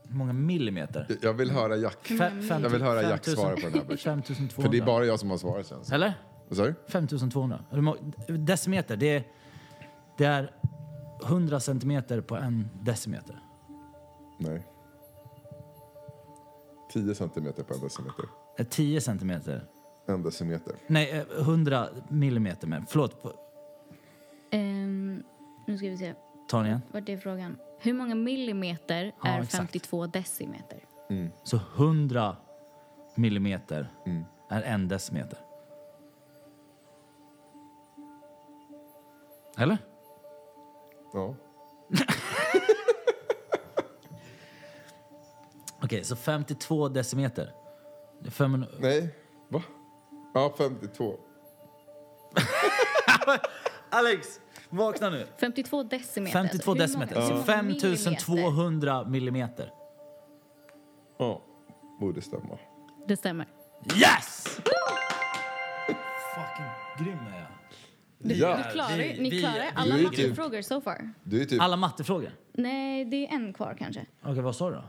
[SPEAKER 1] Hur många millimeter?
[SPEAKER 2] Jag vill höra Jack.
[SPEAKER 1] Fem, fem,
[SPEAKER 2] Jag vill höra
[SPEAKER 1] fem
[SPEAKER 2] Jack
[SPEAKER 1] tusen-
[SPEAKER 2] svara på den här först.
[SPEAKER 1] 5200.
[SPEAKER 2] För det är bara jag som har svarat känns det
[SPEAKER 1] Eller?
[SPEAKER 2] Vad sa du?
[SPEAKER 1] 5200. Hur må- Decimeter, det är, det är 100 centimeter på en decimeter.
[SPEAKER 2] Nej. 10 centimeter på en decimeter.
[SPEAKER 1] Eh, 10 centimeter.
[SPEAKER 2] En decimeter.
[SPEAKER 1] Nej, eh, 100 millimeter. Men, förlåt, på-
[SPEAKER 3] Ehm, nu ska vi se.
[SPEAKER 1] ta den igen.
[SPEAKER 3] Vart är frågan? Hur många millimeter
[SPEAKER 1] Ja,
[SPEAKER 3] är
[SPEAKER 1] exakt.
[SPEAKER 3] 52 decimeter?
[SPEAKER 1] Så 100 millimeter är en decimeter. Eller?
[SPEAKER 2] Ja.
[SPEAKER 1] Okej, så 52 decimeter. Det är 500...
[SPEAKER 2] Nej. Va? Ja, 52.
[SPEAKER 1] Alex! Vakna nu!
[SPEAKER 3] 52 decimeter.
[SPEAKER 1] 52
[SPEAKER 3] alltså. Hur
[SPEAKER 1] decimeter.
[SPEAKER 3] många- hur
[SPEAKER 1] Så
[SPEAKER 3] många
[SPEAKER 1] 5200 millimeter.
[SPEAKER 2] Ja. Borde stämma.
[SPEAKER 3] millimeter? Det stämmer.
[SPEAKER 1] Yes! Fucking grym är jag.
[SPEAKER 3] Du,
[SPEAKER 2] Ja,
[SPEAKER 3] du klarar,
[SPEAKER 1] vi-
[SPEAKER 3] ni
[SPEAKER 1] vi-
[SPEAKER 3] klarar
[SPEAKER 1] vi-
[SPEAKER 3] alla
[SPEAKER 2] vi-
[SPEAKER 3] mattefrågor so far.
[SPEAKER 2] Du är typ...
[SPEAKER 1] Alla mattefrågor?
[SPEAKER 3] Nej, det är en kvar kanske.
[SPEAKER 1] Okej, vad sa du då?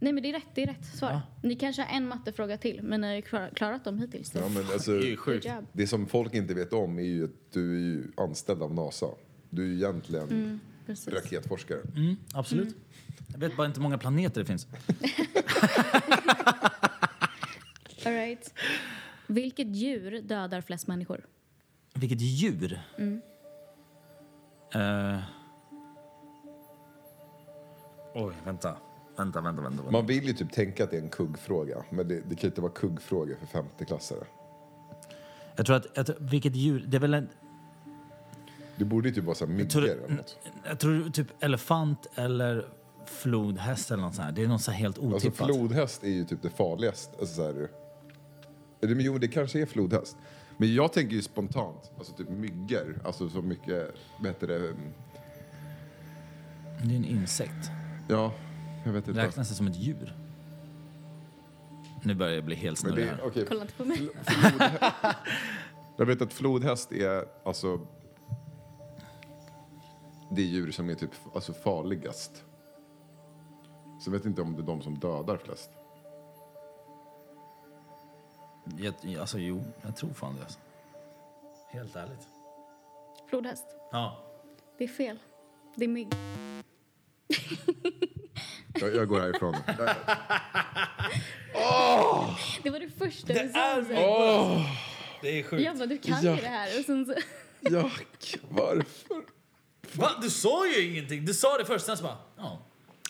[SPEAKER 3] Nej, men det är rätt, det är rätt svar.
[SPEAKER 1] Ja.
[SPEAKER 3] Ni kanske har en mattefråga till, men ni har ju klar, klarat dem hittills.
[SPEAKER 2] Ja, men alltså,
[SPEAKER 3] sjukt. jobb.
[SPEAKER 2] det som folk inte vet om är ju att du är ju anställd av NASA. Du är ju egentligen
[SPEAKER 3] Precis.
[SPEAKER 2] raketforskare.
[SPEAKER 1] Absolut.
[SPEAKER 3] Mm.
[SPEAKER 1] Jag vet bara inte hur många planeter det finns.
[SPEAKER 3] All right. Vilket djur dödar flest människor?
[SPEAKER 1] Vilket djur? Eh. Oj, vänta. Vänta, vänta, vänta. vänta.
[SPEAKER 2] Man vill ju typ tänka att det är en kuggfråga, men det, det kan ju inte vara kuggfrågor för 50-klassare.
[SPEAKER 1] Jag tror att, jag tror, vilket djur? Det är väl en,
[SPEAKER 2] Det borde ju typ vara så här myggor
[SPEAKER 1] tror, Mm,
[SPEAKER 2] eller något.
[SPEAKER 1] jag tror typ elefant eller flodhäst eller något sånt här. Det är något så här helt
[SPEAKER 2] Alltså
[SPEAKER 1] otippat.
[SPEAKER 2] flodhäst är ju typ det farligaste. Alltså, så här, eller, men jo, det kanske är flodhäst. Men jag tänker ju spontant, alltså typ myggor, alltså så mycket, vad heter det, mm,
[SPEAKER 1] Det är en insekt.
[SPEAKER 2] ja, jag vet inte.
[SPEAKER 1] Räknas det som ett djur? Nu börjar jag bli helt
[SPEAKER 2] Men
[SPEAKER 1] snurrig
[SPEAKER 2] det,
[SPEAKER 1] här.
[SPEAKER 2] okej,
[SPEAKER 3] Kolla inte på mig.
[SPEAKER 2] jag vet att flodhäst är, alltså, det djur som är typ alltså, farligast. Så jag vet inte om det är de som dödar flest.
[SPEAKER 1] Jag, alltså jo, jag tror fan det. Alltså. Helt ärligt.
[SPEAKER 3] Flodhäst.
[SPEAKER 1] Ja.
[SPEAKER 3] Det är fel. Det är mygg.
[SPEAKER 2] Jag, jag går härifrån.
[SPEAKER 3] Det var det första du sa.
[SPEAKER 1] är
[SPEAKER 3] Zach.
[SPEAKER 1] Det är sjukt.
[SPEAKER 3] Jag bara, du kan
[SPEAKER 2] Ja.
[SPEAKER 3] ju det här. Och sen så,
[SPEAKER 2] Jack, varför?
[SPEAKER 1] Va? Du sa ju ingenting. Du sa det först, sen så bara... Ja.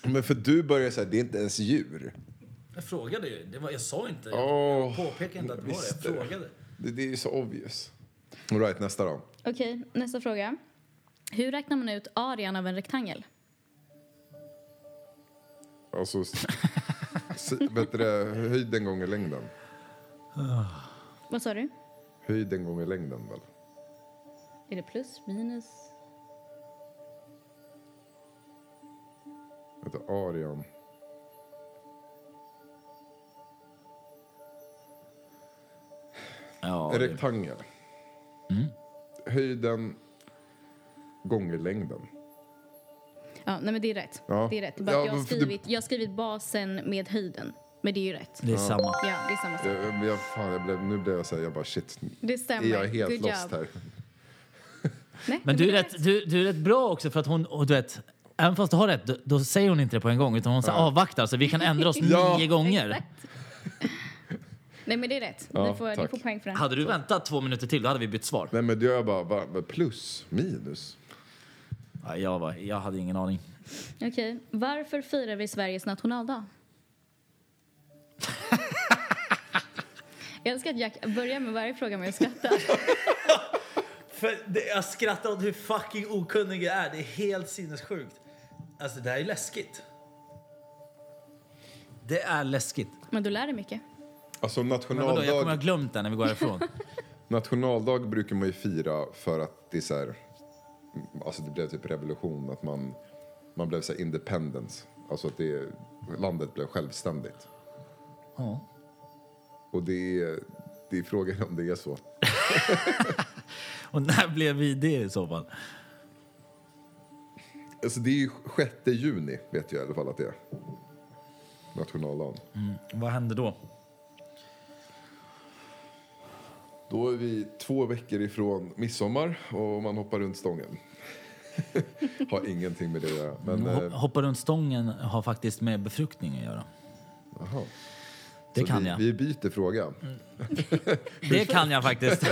[SPEAKER 2] Men för du börjar säga, det är inte ens djur.
[SPEAKER 1] Jag frågade ju. Det var, jag sa inte. Jag
[SPEAKER 2] Åh,
[SPEAKER 1] påpekade inte att det var det.
[SPEAKER 2] visst
[SPEAKER 1] Jag
[SPEAKER 2] är det.
[SPEAKER 1] frågade.
[SPEAKER 2] Det, det är ju så obvious. All right, nästa då.
[SPEAKER 3] Okej, nästa fråga. Hur räknar man ut arean av en rektangel?
[SPEAKER 2] Alltså, s- s- bättre höjden gånger längden.
[SPEAKER 3] Vad sa du?
[SPEAKER 2] Höjden gånger längden väl?
[SPEAKER 3] Är det plus, minus?
[SPEAKER 2] Vänta, arean.
[SPEAKER 1] Ja,
[SPEAKER 2] En rektangel. Höjden gånger längden.
[SPEAKER 3] Ja, nej men det är rätt.
[SPEAKER 2] Ja.
[SPEAKER 3] Det är rätt. Det är Bara,
[SPEAKER 2] Ja,
[SPEAKER 3] att jag, har
[SPEAKER 2] men för
[SPEAKER 3] skrivit, jag har skrivit basen med höjden. Men det är ju rätt.
[SPEAKER 1] det är samma.
[SPEAKER 3] Ja, det är samma sak.
[SPEAKER 2] Jag, Eh, men jag, fan, jag blev, nu blev jag så här, jag bara shit.
[SPEAKER 3] Det
[SPEAKER 2] Är
[SPEAKER 3] stämmer.
[SPEAKER 2] jag helt
[SPEAKER 3] Good
[SPEAKER 2] lost
[SPEAKER 3] job.
[SPEAKER 2] här?
[SPEAKER 3] Nej,
[SPEAKER 1] Men du är,
[SPEAKER 3] det
[SPEAKER 1] rätt, du, du är rätt bra också för att hon, och du vet, även fast du har rätt, då, då säger hon inte det på en gång utan hon så här avvaktar så vi kan ändra oss
[SPEAKER 2] Ja.
[SPEAKER 1] nio gånger.
[SPEAKER 3] Exakt. Nej, men det är rätt.
[SPEAKER 2] Ja,
[SPEAKER 3] ni, får, ni
[SPEAKER 2] tack.
[SPEAKER 3] får poäng för den.
[SPEAKER 1] Hade du väntat två minuter till då hade vi bytt svar.
[SPEAKER 2] Nej men då gör jag bara, va, va, plus, minus.
[SPEAKER 1] Ja, jag, var, jag hade ingen aning.
[SPEAKER 3] Okej. Varför firar vi Sveriges nationaldag? jag älskar att Jack börjar med varje fråga med att skratta.
[SPEAKER 1] För det, jag skrattar åt hur fucking okunnig jag är. Det är helt sinnessjukt. Alltså det här är läskigt. Det är läskigt.
[SPEAKER 3] Men du lär dig mycket.
[SPEAKER 2] Alltså
[SPEAKER 1] Men vadå,
[SPEAKER 2] nationaldag,
[SPEAKER 1] jag kommer att ha glömt det när vi går härifrån.
[SPEAKER 2] nationaldag brukar man ju fira för att det är så här, alltså det blev typ revolution, att man, man blev så här independence. Alltså att det, landet blev självständigt.
[SPEAKER 1] Ja.
[SPEAKER 2] Och det är, det är frågan om det är så.
[SPEAKER 1] Och när blev vi det i så fall?
[SPEAKER 2] Alltså det är ju 6 juni vet jag i alla fall att det är. Nationaldagen.
[SPEAKER 1] Vad hände då?
[SPEAKER 2] Då är vi två veckor ifrån midsommar och man hoppar runt stången. Har ingenting med det att göra. Men,
[SPEAKER 1] Hop-
[SPEAKER 2] eh,
[SPEAKER 1] Hoppa runt stången har faktiskt med befruktning att göra.
[SPEAKER 2] aha.
[SPEAKER 1] Det
[SPEAKER 2] Så
[SPEAKER 1] kan
[SPEAKER 2] vi,
[SPEAKER 1] jag.
[SPEAKER 2] Vi byter fråga.
[SPEAKER 1] Det kan jag faktiskt.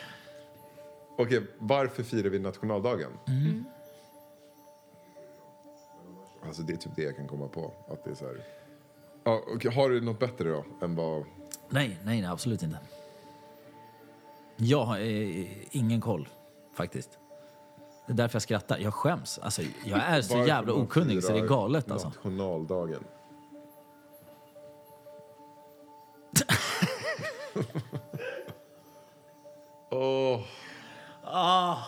[SPEAKER 2] Okej, varför firar vi nationaldagen? Alltså det är typ det jag kan komma på. Att det är så här. Ja, okej, har du något bättre då? Än vad...
[SPEAKER 1] Nej, nej, nej, absolut inte. Jag har eh, ingen koll, faktiskt. Det är därför jag skrattar. Jag skäms. Alltså, jag är så
[SPEAKER 2] varför
[SPEAKER 1] jävla
[SPEAKER 2] man
[SPEAKER 1] okunnig så det är
[SPEAKER 2] firar
[SPEAKER 1] galet. Alltså.
[SPEAKER 2] Nationaldagen. Åh.
[SPEAKER 1] Ah.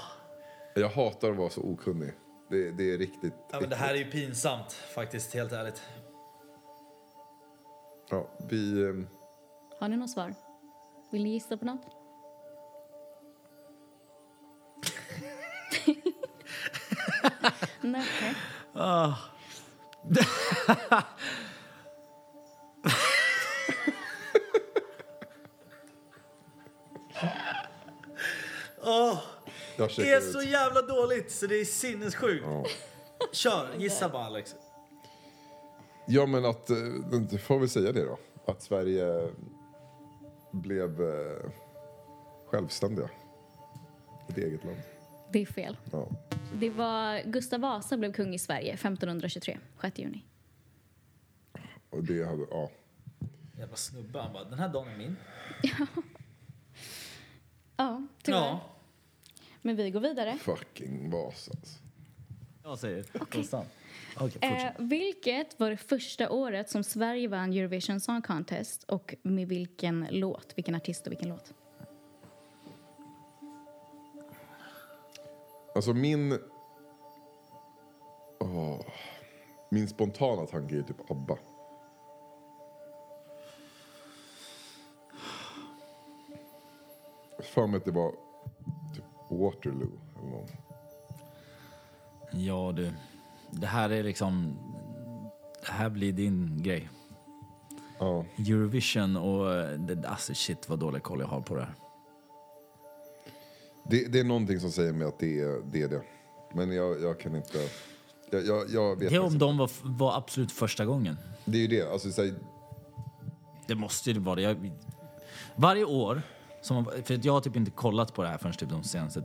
[SPEAKER 2] Jag hatar att vara så okunnig. Det, det är riktigt
[SPEAKER 1] är ju pinsamt, faktiskt. Helt ärligt.
[SPEAKER 2] äckligt. ja, vi, ehm,
[SPEAKER 3] Har ni något svar? Vill ni gissa på något? Nej, okej.
[SPEAKER 2] jag
[SPEAKER 1] Det
[SPEAKER 2] checkar
[SPEAKER 1] är
[SPEAKER 2] ut.
[SPEAKER 1] så jävla dåligt, så det är sinnessjukt. Kör, gissa bara, Alex.
[SPEAKER 2] Ja, men att... eh, Du får väl säga det då. Att Sverige blev eh, självständiga. Ett eget land.
[SPEAKER 3] Det är fel.
[SPEAKER 2] Ja.
[SPEAKER 3] Det var Gustav Vasa blev kung i Sverige 1523, 6 juni.
[SPEAKER 2] Och det hade... Ja.
[SPEAKER 1] Jävla snubbe. Han bara, den här dagen är min.
[SPEAKER 3] Ja, tyvärr.
[SPEAKER 1] Ja,
[SPEAKER 3] Men vi går vidare.
[SPEAKER 2] Fucking Vasa. Alltså.
[SPEAKER 1] jag säger konstant. Okej, fortsätt.
[SPEAKER 3] Eh, vilket var det första året som Sverige vann Eurovision Song Contest och med vilken låt? Vilken artist och vilken låt?
[SPEAKER 2] Alltså min... Åh. Min spontana tanke är typ ABBA. Jag har för mig att det var typ Waterloo. Eller någon.
[SPEAKER 1] Ja, du. Det här är liksom... Det här blir din grej.
[SPEAKER 2] Ja.
[SPEAKER 1] Eurovision och... eh, Det, alltså shit vad dålig koll jag har på det här.
[SPEAKER 2] Det, det är någonting som säger mig att det är det. Är det. Men jag, jag kan inte... Jag, jag, jag vet
[SPEAKER 1] Det är om
[SPEAKER 2] faktiskt-
[SPEAKER 1] de var, var absolut första gången.
[SPEAKER 2] det är ju det. Alltså, så här,
[SPEAKER 1] Det måste ju vara det. Jag, varje år Som, för att jag har typ inte kollat på det här förrän typ de senaste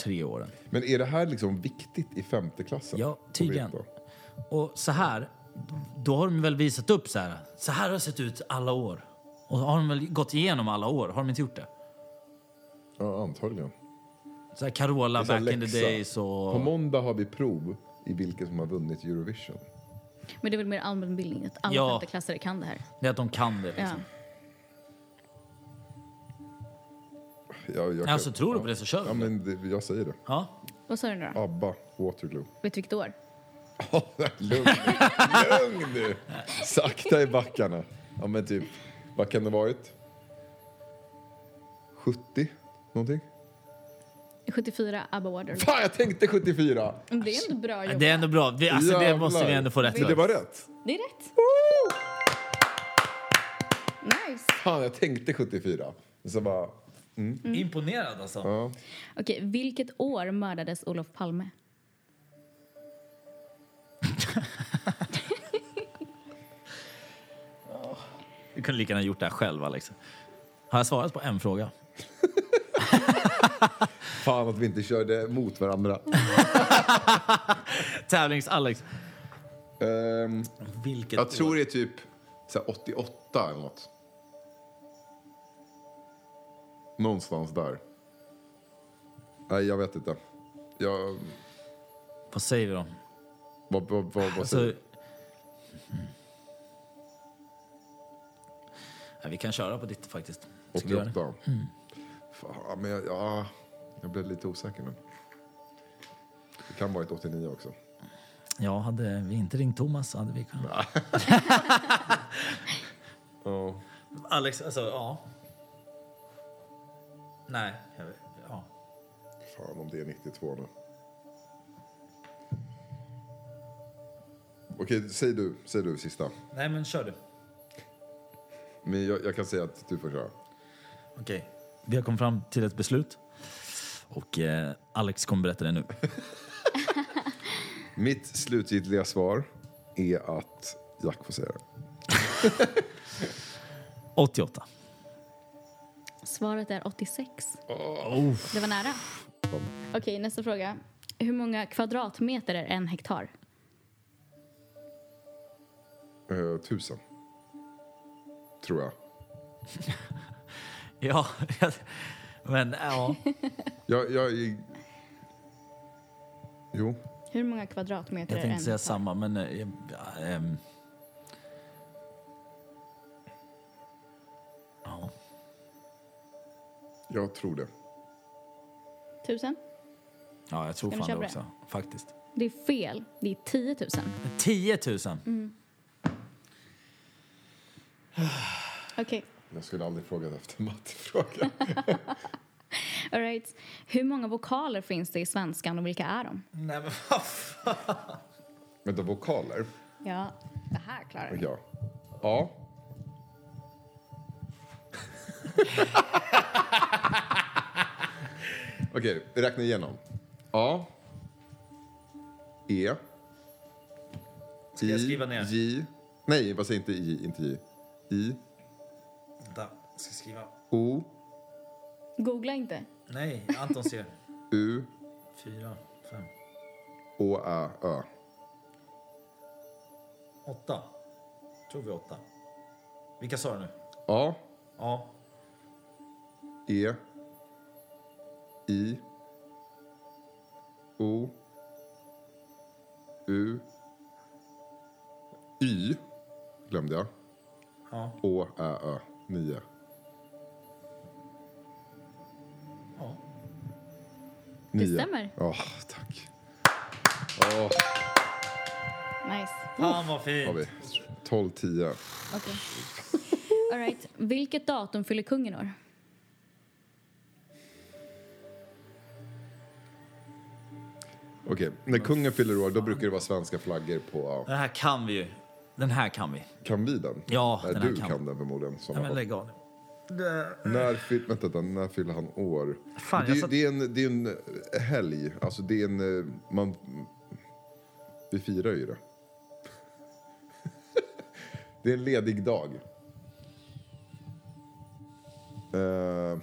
[SPEAKER 1] tre åren.
[SPEAKER 2] Men är det här liksom viktigt i femte klassen?
[SPEAKER 1] Ja,
[SPEAKER 2] att
[SPEAKER 1] tydligen.
[SPEAKER 2] veta?
[SPEAKER 1] Och så här, då har de väl visat upp så här. Så här har det sett ut alla år. Och har de väl gått igenom alla år? Har de inte gjort det?
[SPEAKER 2] Ja, antagligen.
[SPEAKER 1] Så här Carola,
[SPEAKER 2] Det är
[SPEAKER 1] back
[SPEAKER 2] en
[SPEAKER 1] in the
[SPEAKER 2] läxa.
[SPEAKER 1] days och...
[SPEAKER 2] På måndag har vi prov i vilken som har vunnit Eurovision.
[SPEAKER 3] Men det är väl mer allmänbildning att alla
[SPEAKER 1] Ja.
[SPEAKER 3] femteklassare kan det här.
[SPEAKER 1] Det är att de kan det. Liksom.
[SPEAKER 3] Ja.
[SPEAKER 2] Jag, jag kan-
[SPEAKER 1] Alltså, tror du på det så kör vi
[SPEAKER 2] Ja,
[SPEAKER 1] på det.
[SPEAKER 2] men det, jag säger det.
[SPEAKER 1] Ja.
[SPEAKER 3] Vad sa du nu då?
[SPEAKER 2] ABBA, Waterloo.
[SPEAKER 3] Vet du vilket år?
[SPEAKER 2] Lugn nu. Lugn nu! Sakta i backarna. Ja, men typ, vad kan det ha varit? 70? Någonting?
[SPEAKER 3] 74, ABBA Waterloo.
[SPEAKER 2] Fan, jag tänkte 74!
[SPEAKER 3] Men Det är ändå bra jobbat.
[SPEAKER 1] Det är ändå bra. Vi, alltså, det
[SPEAKER 2] Jävlar.
[SPEAKER 1] måste vi ändå få rätt
[SPEAKER 2] Men det
[SPEAKER 1] för.
[SPEAKER 2] var rätt.
[SPEAKER 3] Det är rätt. Nice.
[SPEAKER 2] Fan, jag tänkte 74. Men så bara...
[SPEAKER 1] Imponerad alltså.
[SPEAKER 2] Ja.
[SPEAKER 3] Okej, vilket år mördades Olof Palme?
[SPEAKER 1] Du kunde lika gärna gjort det här själv Alex. Har jag svarat på en fråga?
[SPEAKER 2] Fan att vi inte körde mot varandra.
[SPEAKER 1] Tävlings-Alex.
[SPEAKER 2] Ehm,
[SPEAKER 1] Vilket
[SPEAKER 2] jag tror
[SPEAKER 1] år?
[SPEAKER 2] det är typ så här 88 eller något. Någonstans där. Nej, jag vet inte. Jag...
[SPEAKER 1] Vad säger vi då?
[SPEAKER 2] Vad, vad, vad, vad
[SPEAKER 1] Alltså...
[SPEAKER 2] säger
[SPEAKER 1] Mm. Ja, vi kan köra på ditt faktiskt.
[SPEAKER 2] du?
[SPEAKER 1] Ska vi göra det? Mm.
[SPEAKER 2] 88? Fan, men jag, ja, jag blev lite osäker nu. Det kan vara ett 89 också.
[SPEAKER 1] Ja, hade vi inte ringt Thomas så hade vi kunnat...
[SPEAKER 2] Ja.
[SPEAKER 1] Alex, alltså ja. Nej, jag vet- ja.
[SPEAKER 2] Fan om det är 92 nu. Okej, säg du, säg du sista.
[SPEAKER 1] Nej men kör du.
[SPEAKER 2] Men jag, jag kan säga att du får köra.
[SPEAKER 1] Okej. Vi har kommit fram till ett beslut. Och eh, Alex kommer berätta det nu.
[SPEAKER 2] Mitt slutgiltiga svar är att Jack får säga det.
[SPEAKER 1] 88.
[SPEAKER 3] Svaret är 86.
[SPEAKER 1] Oh.
[SPEAKER 3] Det var nära. Okej, nästa fråga. Hur många kvadratmeter är en hektar?
[SPEAKER 2] Eh, tusen. Tror jag.
[SPEAKER 1] Ja, men ja.
[SPEAKER 2] Jag, jag, Jo,
[SPEAKER 3] Hur många kvadratmeter
[SPEAKER 1] Jag
[SPEAKER 3] är en
[SPEAKER 1] tänkte säga
[SPEAKER 3] hektar?
[SPEAKER 1] samma, men... eh, ja, ehm. Ja.
[SPEAKER 2] jag tror det.
[SPEAKER 3] Tusen?
[SPEAKER 1] ja, jag tror
[SPEAKER 3] Ska vi
[SPEAKER 1] fan det
[SPEAKER 3] köpa
[SPEAKER 1] också. Faktiskt.
[SPEAKER 3] Det är fel. Det är 10 000.
[SPEAKER 1] 10 000.
[SPEAKER 3] Mm. Okej.
[SPEAKER 2] Jag skulle aldrig frågat efter mattefrågan.
[SPEAKER 3] All right. Hur många vokaler finns det i svenskan och vilka är de?
[SPEAKER 1] Nej, men vad fan.
[SPEAKER 2] Vänta, vokaler?
[SPEAKER 3] Ja, det här klarar jag.
[SPEAKER 2] Ja. A. Okej, vi räknar igenom. A. E. Ska
[SPEAKER 1] jag skriva ner?
[SPEAKER 2] J. Nej, vad säger inte I, inte J. I.
[SPEAKER 1] Vänta, jag ska skriva.
[SPEAKER 2] O.
[SPEAKER 3] Googla inte.
[SPEAKER 1] Nej, Anton ser.
[SPEAKER 2] U.
[SPEAKER 1] Fyra, fem,
[SPEAKER 2] Å, Ä, Ö.
[SPEAKER 1] åtta. Tror vi åtta. Vilka sa du nu?
[SPEAKER 2] A.
[SPEAKER 1] Ja.
[SPEAKER 2] E. I. O. U. Y. Glömde jag.
[SPEAKER 1] Ja.
[SPEAKER 2] Å, Ä, Ö. Nio.
[SPEAKER 1] ja.
[SPEAKER 2] Nio.
[SPEAKER 3] stämmer.
[SPEAKER 2] Ja, tack. Åh,
[SPEAKER 3] Nice.
[SPEAKER 1] Fan vad
[SPEAKER 2] har
[SPEAKER 1] fint.
[SPEAKER 2] vi. 12, 10.
[SPEAKER 3] Okej. All right. Vilket datum fyller kungen år?
[SPEAKER 2] Okej, när kungen fyller år då brukar det vara svenska flaggor på...
[SPEAKER 1] Den här kan vi ju. Den här kan vi.
[SPEAKER 2] Kan vi den?
[SPEAKER 1] Ja,
[SPEAKER 2] Nej,
[SPEAKER 1] den här
[SPEAKER 2] du
[SPEAKER 1] kan
[SPEAKER 2] kan, den förmodligen.
[SPEAKER 1] Nej, men
[SPEAKER 2] Såna.
[SPEAKER 1] lägg av nu.
[SPEAKER 2] När, fyll, vänta, vänta, när fyller han år?
[SPEAKER 1] Fan,
[SPEAKER 2] det,
[SPEAKER 1] jag satt-
[SPEAKER 2] det, är en, det är en helg. Alltså det är en... eh, Man, vi firar ju det. det är en ledig dag. Eh,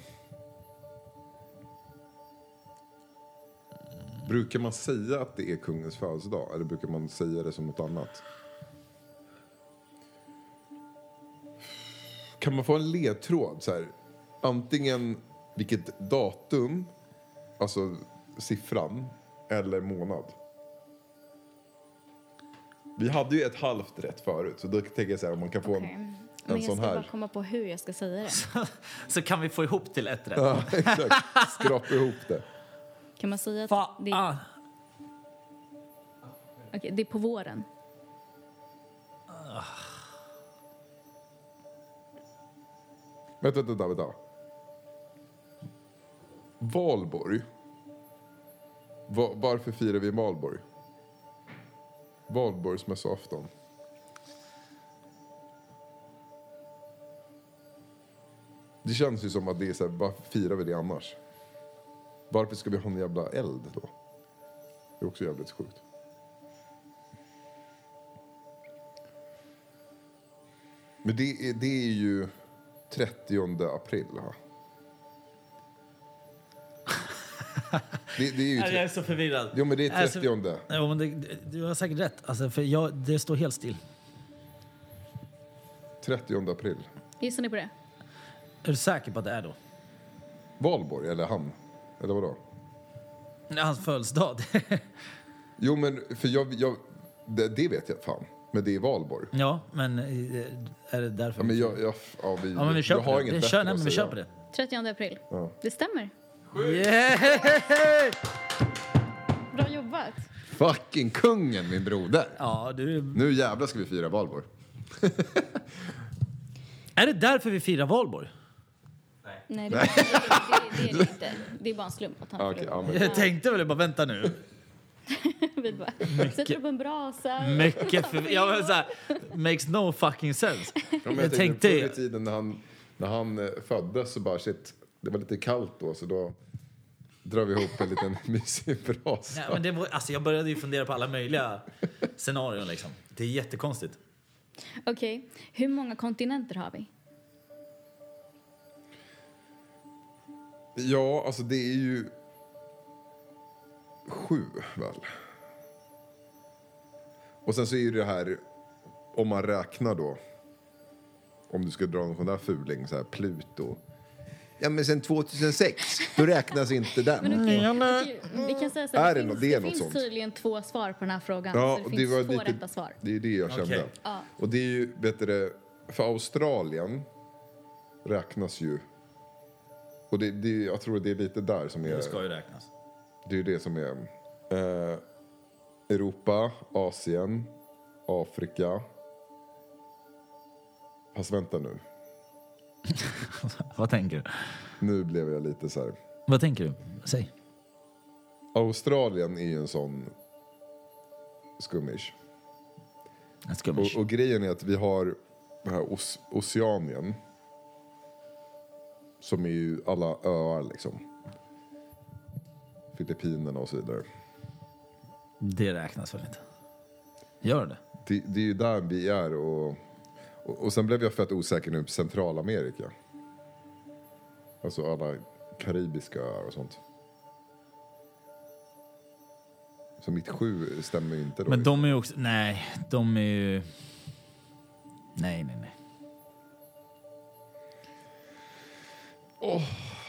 [SPEAKER 2] Brukar man säga att det är kungens födelsedag eller brukar man säga det som något annat? Kan man få en ledtråd? Så här, antingen vilket datum, alltså siffran, eller månad. Vi hade ju ett halvt rätt förut, så då tänker jag så här, om man kan få
[SPEAKER 3] Okej.
[SPEAKER 2] en,
[SPEAKER 3] Men
[SPEAKER 2] en
[SPEAKER 3] jag ska
[SPEAKER 2] sån
[SPEAKER 3] bara
[SPEAKER 2] här.
[SPEAKER 3] komma på hur jag ska säga det.
[SPEAKER 1] Så kan vi få ihop till ett rätt.
[SPEAKER 2] Ja, exakt. Skrapa ihop det.
[SPEAKER 3] Kan man säga att
[SPEAKER 1] Fan.
[SPEAKER 3] det är, okej, det är på våren?
[SPEAKER 2] Vänta, vänta, vänta. Valborg. Va- varför firar vi Valborg? Valborgsmässoafton. Det känns ju som att det är så här, varför firar vi det annars? Varför ska vi ha en jävla eld då? Det är också jävligt sjukt. Men det är, det är ju 30 april. Va? Det, det är
[SPEAKER 1] Nej,
[SPEAKER 2] ju...
[SPEAKER 1] Jag
[SPEAKER 2] Tre...
[SPEAKER 1] är så förvirrad.
[SPEAKER 2] Jo, men det är
[SPEAKER 1] Alltså,
[SPEAKER 2] 30.
[SPEAKER 1] Jo, men det, du har säkert rätt. Alltså, för jag, det står helt still.
[SPEAKER 2] 30 april.
[SPEAKER 3] Gissar ni på det?
[SPEAKER 1] Är du säker på att det är då?
[SPEAKER 2] Valborg, eller han? Eller vadå?
[SPEAKER 1] Det är Hans födelsedag.
[SPEAKER 2] Jo, men för jag... jag det, det vet jag fan. Men det är Valborg.
[SPEAKER 1] ja, men eh, är det därför?
[SPEAKER 2] Ja, men jag... jag ja, vi,
[SPEAKER 1] Ja, men vi
[SPEAKER 2] jag
[SPEAKER 1] köper
[SPEAKER 2] har
[SPEAKER 1] det.
[SPEAKER 2] inget
[SPEAKER 1] Vi
[SPEAKER 2] bättre
[SPEAKER 1] kör, nej,
[SPEAKER 2] att
[SPEAKER 1] men vi
[SPEAKER 2] säga.
[SPEAKER 1] köper det.
[SPEAKER 3] 30 april.
[SPEAKER 2] Ja.
[SPEAKER 3] Det stämmer.
[SPEAKER 1] Yeah!
[SPEAKER 3] Bra jobbat.
[SPEAKER 2] Fucking kungen, min broder!
[SPEAKER 1] Ja, du...
[SPEAKER 2] Nu jävlar ska vi fira Valborg.
[SPEAKER 1] Är det därför vi firar Valborg?
[SPEAKER 3] Nej, det, det, det, det är det inte. Det är bara en slump att han
[SPEAKER 2] Ah, okej,
[SPEAKER 3] förlorade.
[SPEAKER 2] ja, men,
[SPEAKER 1] Jag tänkte väl bara vänta nu.
[SPEAKER 3] Vi bara sätter upp en brasa.
[SPEAKER 1] Mycket för... Jag var så här, makes no fucking sense.
[SPEAKER 2] ja, men
[SPEAKER 1] jag
[SPEAKER 2] jag
[SPEAKER 1] tänkte-
[SPEAKER 2] tänkte... Förr i tiden när han, när han eh, föddes så bara shit, det var lite kallt då så då drar vi ihop en liten mysig brasa.
[SPEAKER 1] Nej, men det var, alltså, jag började ju fundera på alla möjliga scenarion liksom. Det är jättekonstigt.
[SPEAKER 3] Okej, hur många kontinenter har vi?
[SPEAKER 2] Ja, alltså det är ju sju väl? Och sen så är ju det här, om man räknar då, om du ska dra någon sån där fuling, så här Pluto. Ja men sen 2006, då räknas inte den.
[SPEAKER 3] Okej, Vi kan säga så
[SPEAKER 2] Mm, Är det
[SPEAKER 3] finns,
[SPEAKER 2] nå- det är något
[SPEAKER 3] finns
[SPEAKER 2] sånt.
[SPEAKER 3] tydligen två svar på den här frågan.
[SPEAKER 2] Ja,
[SPEAKER 3] så det
[SPEAKER 2] och
[SPEAKER 3] finns två
[SPEAKER 2] lite-
[SPEAKER 3] rätta svar.
[SPEAKER 2] Det är det jag kände.
[SPEAKER 1] Okej.
[SPEAKER 3] Ja.
[SPEAKER 2] Och det är ju, vet du det, för Australien räknas ju, och det, det, jag tror det är lite där som är...
[SPEAKER 1] Det ska ju räknas.
[SPEAKER 2] Det är ju det som är eh, Europa, Asien, Afrika. Fast vänta nu.
[SPEAKER 1] Vad tänker du?
[SPEAKER 2] Nu blev jag lite så här.
[SPEAKER 1] Vad tänker du? Säg.
[SPEAKER 2] Australien är ju en sån skummish.
[SPEAKER 1] En skummish.
[SPEAKER 2] Och, och grejen är att vi har den här Os- Oceanien. Som är ju alla öar liksom. Filippinerna och så vidare.
[SPEAKER 1] Det räknas väl inte? Gör det?
[SPEAKER 2] Det, det är ju där vi är och, och, och sen blev jag fett osäker nu på Centralamerika. Alltså alla karibiska öar och sånt. Så mitt sju stämmer ju inte då.
[SPEAKER 1] Men de är ju också... Nej, de är ju... Nej, nej, nej.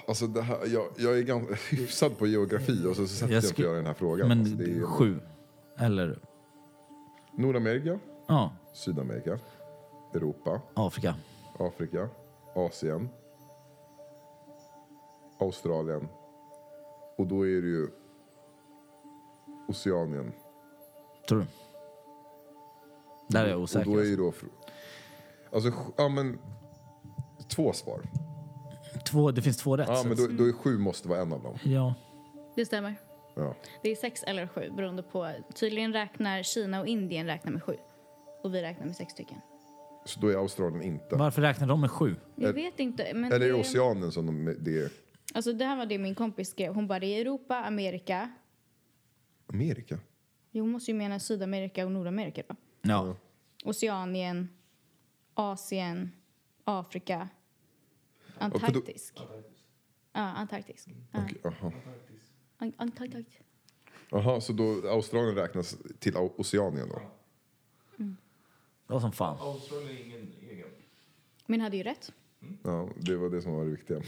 [SPEAKER 2] Alltså det här, jag, jag är ganska hyfsad på geografi och så, så sätter jag,
[SPEAKER 1] Jag
[SPEAKER 2] mig
[SPEAKER 1] skulle-
[SPEAKER 2] och gör den här frågan. alltså,
[SPEAKER 1] Men
[SPEAKER 2] det är ju
[SPEAKER 1] sju. Eller...
[SPEAKER 2] Nordamerika,
[SPEAKER 1] Ja,
[SPEAKER 2] Sydamerika, Europa,
[SPEAKER 1] Afrika.
[SPEAKER 2] Afrika, Asien, Australien och då är det ju Oceanien.
[SPEAKER 1] Tror du? Där är jag osäker.
[SPEAKER 2] Och då är ju då... fr- Alltså, sj- ja men... Två svar.
[SPEAKER 1] alltså. två, det finns två rätt.
[SPEAKER 2] Ja,
[SPEAKER 1] så
[SPEAKER 2] men
[SPEAKER 1] att-
[SPEAKER 2] då, då är sju måste vara en av dem.
[SPEAKER 1] ja.
[SPEAKER 3] Det stämmer.
[SPEAKER 2] Ja.
[SPEAKER 3] Det är sex eller sju beroende på. Tydligen räknar Kina och Indien räknar med sju. Och vi räknar med sex stycken.
[SPEAKER 2] Så då är Australien inte.
[SPEAKER 1] Varför räknar de med sju?
[SPEAKER 3] Jag vet inte. Men
[SPEAKER 2] Eller är det
[SPEAKER 3] det-
[SPEAKER 2] Oceanien som de, det är?
[SPEAKER 3] Alltså det här var det min kompis skrev. Hon bara, det är Europa, Amerika.
[SPEAKER 2] Amerika?
[SPEAKER 3] Jo, hon måste ju mena Sydamerika och Nordamerika då.
[SPEAKER 1] Ja.
[SPEAKER 3] Oceanien, Asien, Afrika,
[SPEAKER 2] då-
[SPEAKER 3] Antarktisk. Ja, Antarktisk. Ja.
[SPEAKER 2] Okej, aha.
[SPEAKER 3] An- Antarktis.
[SPEAKER 2] Jaha, så då Australien räknas till O- Oceanien då?
[SPEAKER 1] Det var som fan.
[SPEAKER 5] Australien är ingen egen.
[SPEAKER 3] Min hade ju rätt.
[SPEAKER 2] Ja, det var det som var det viktiga.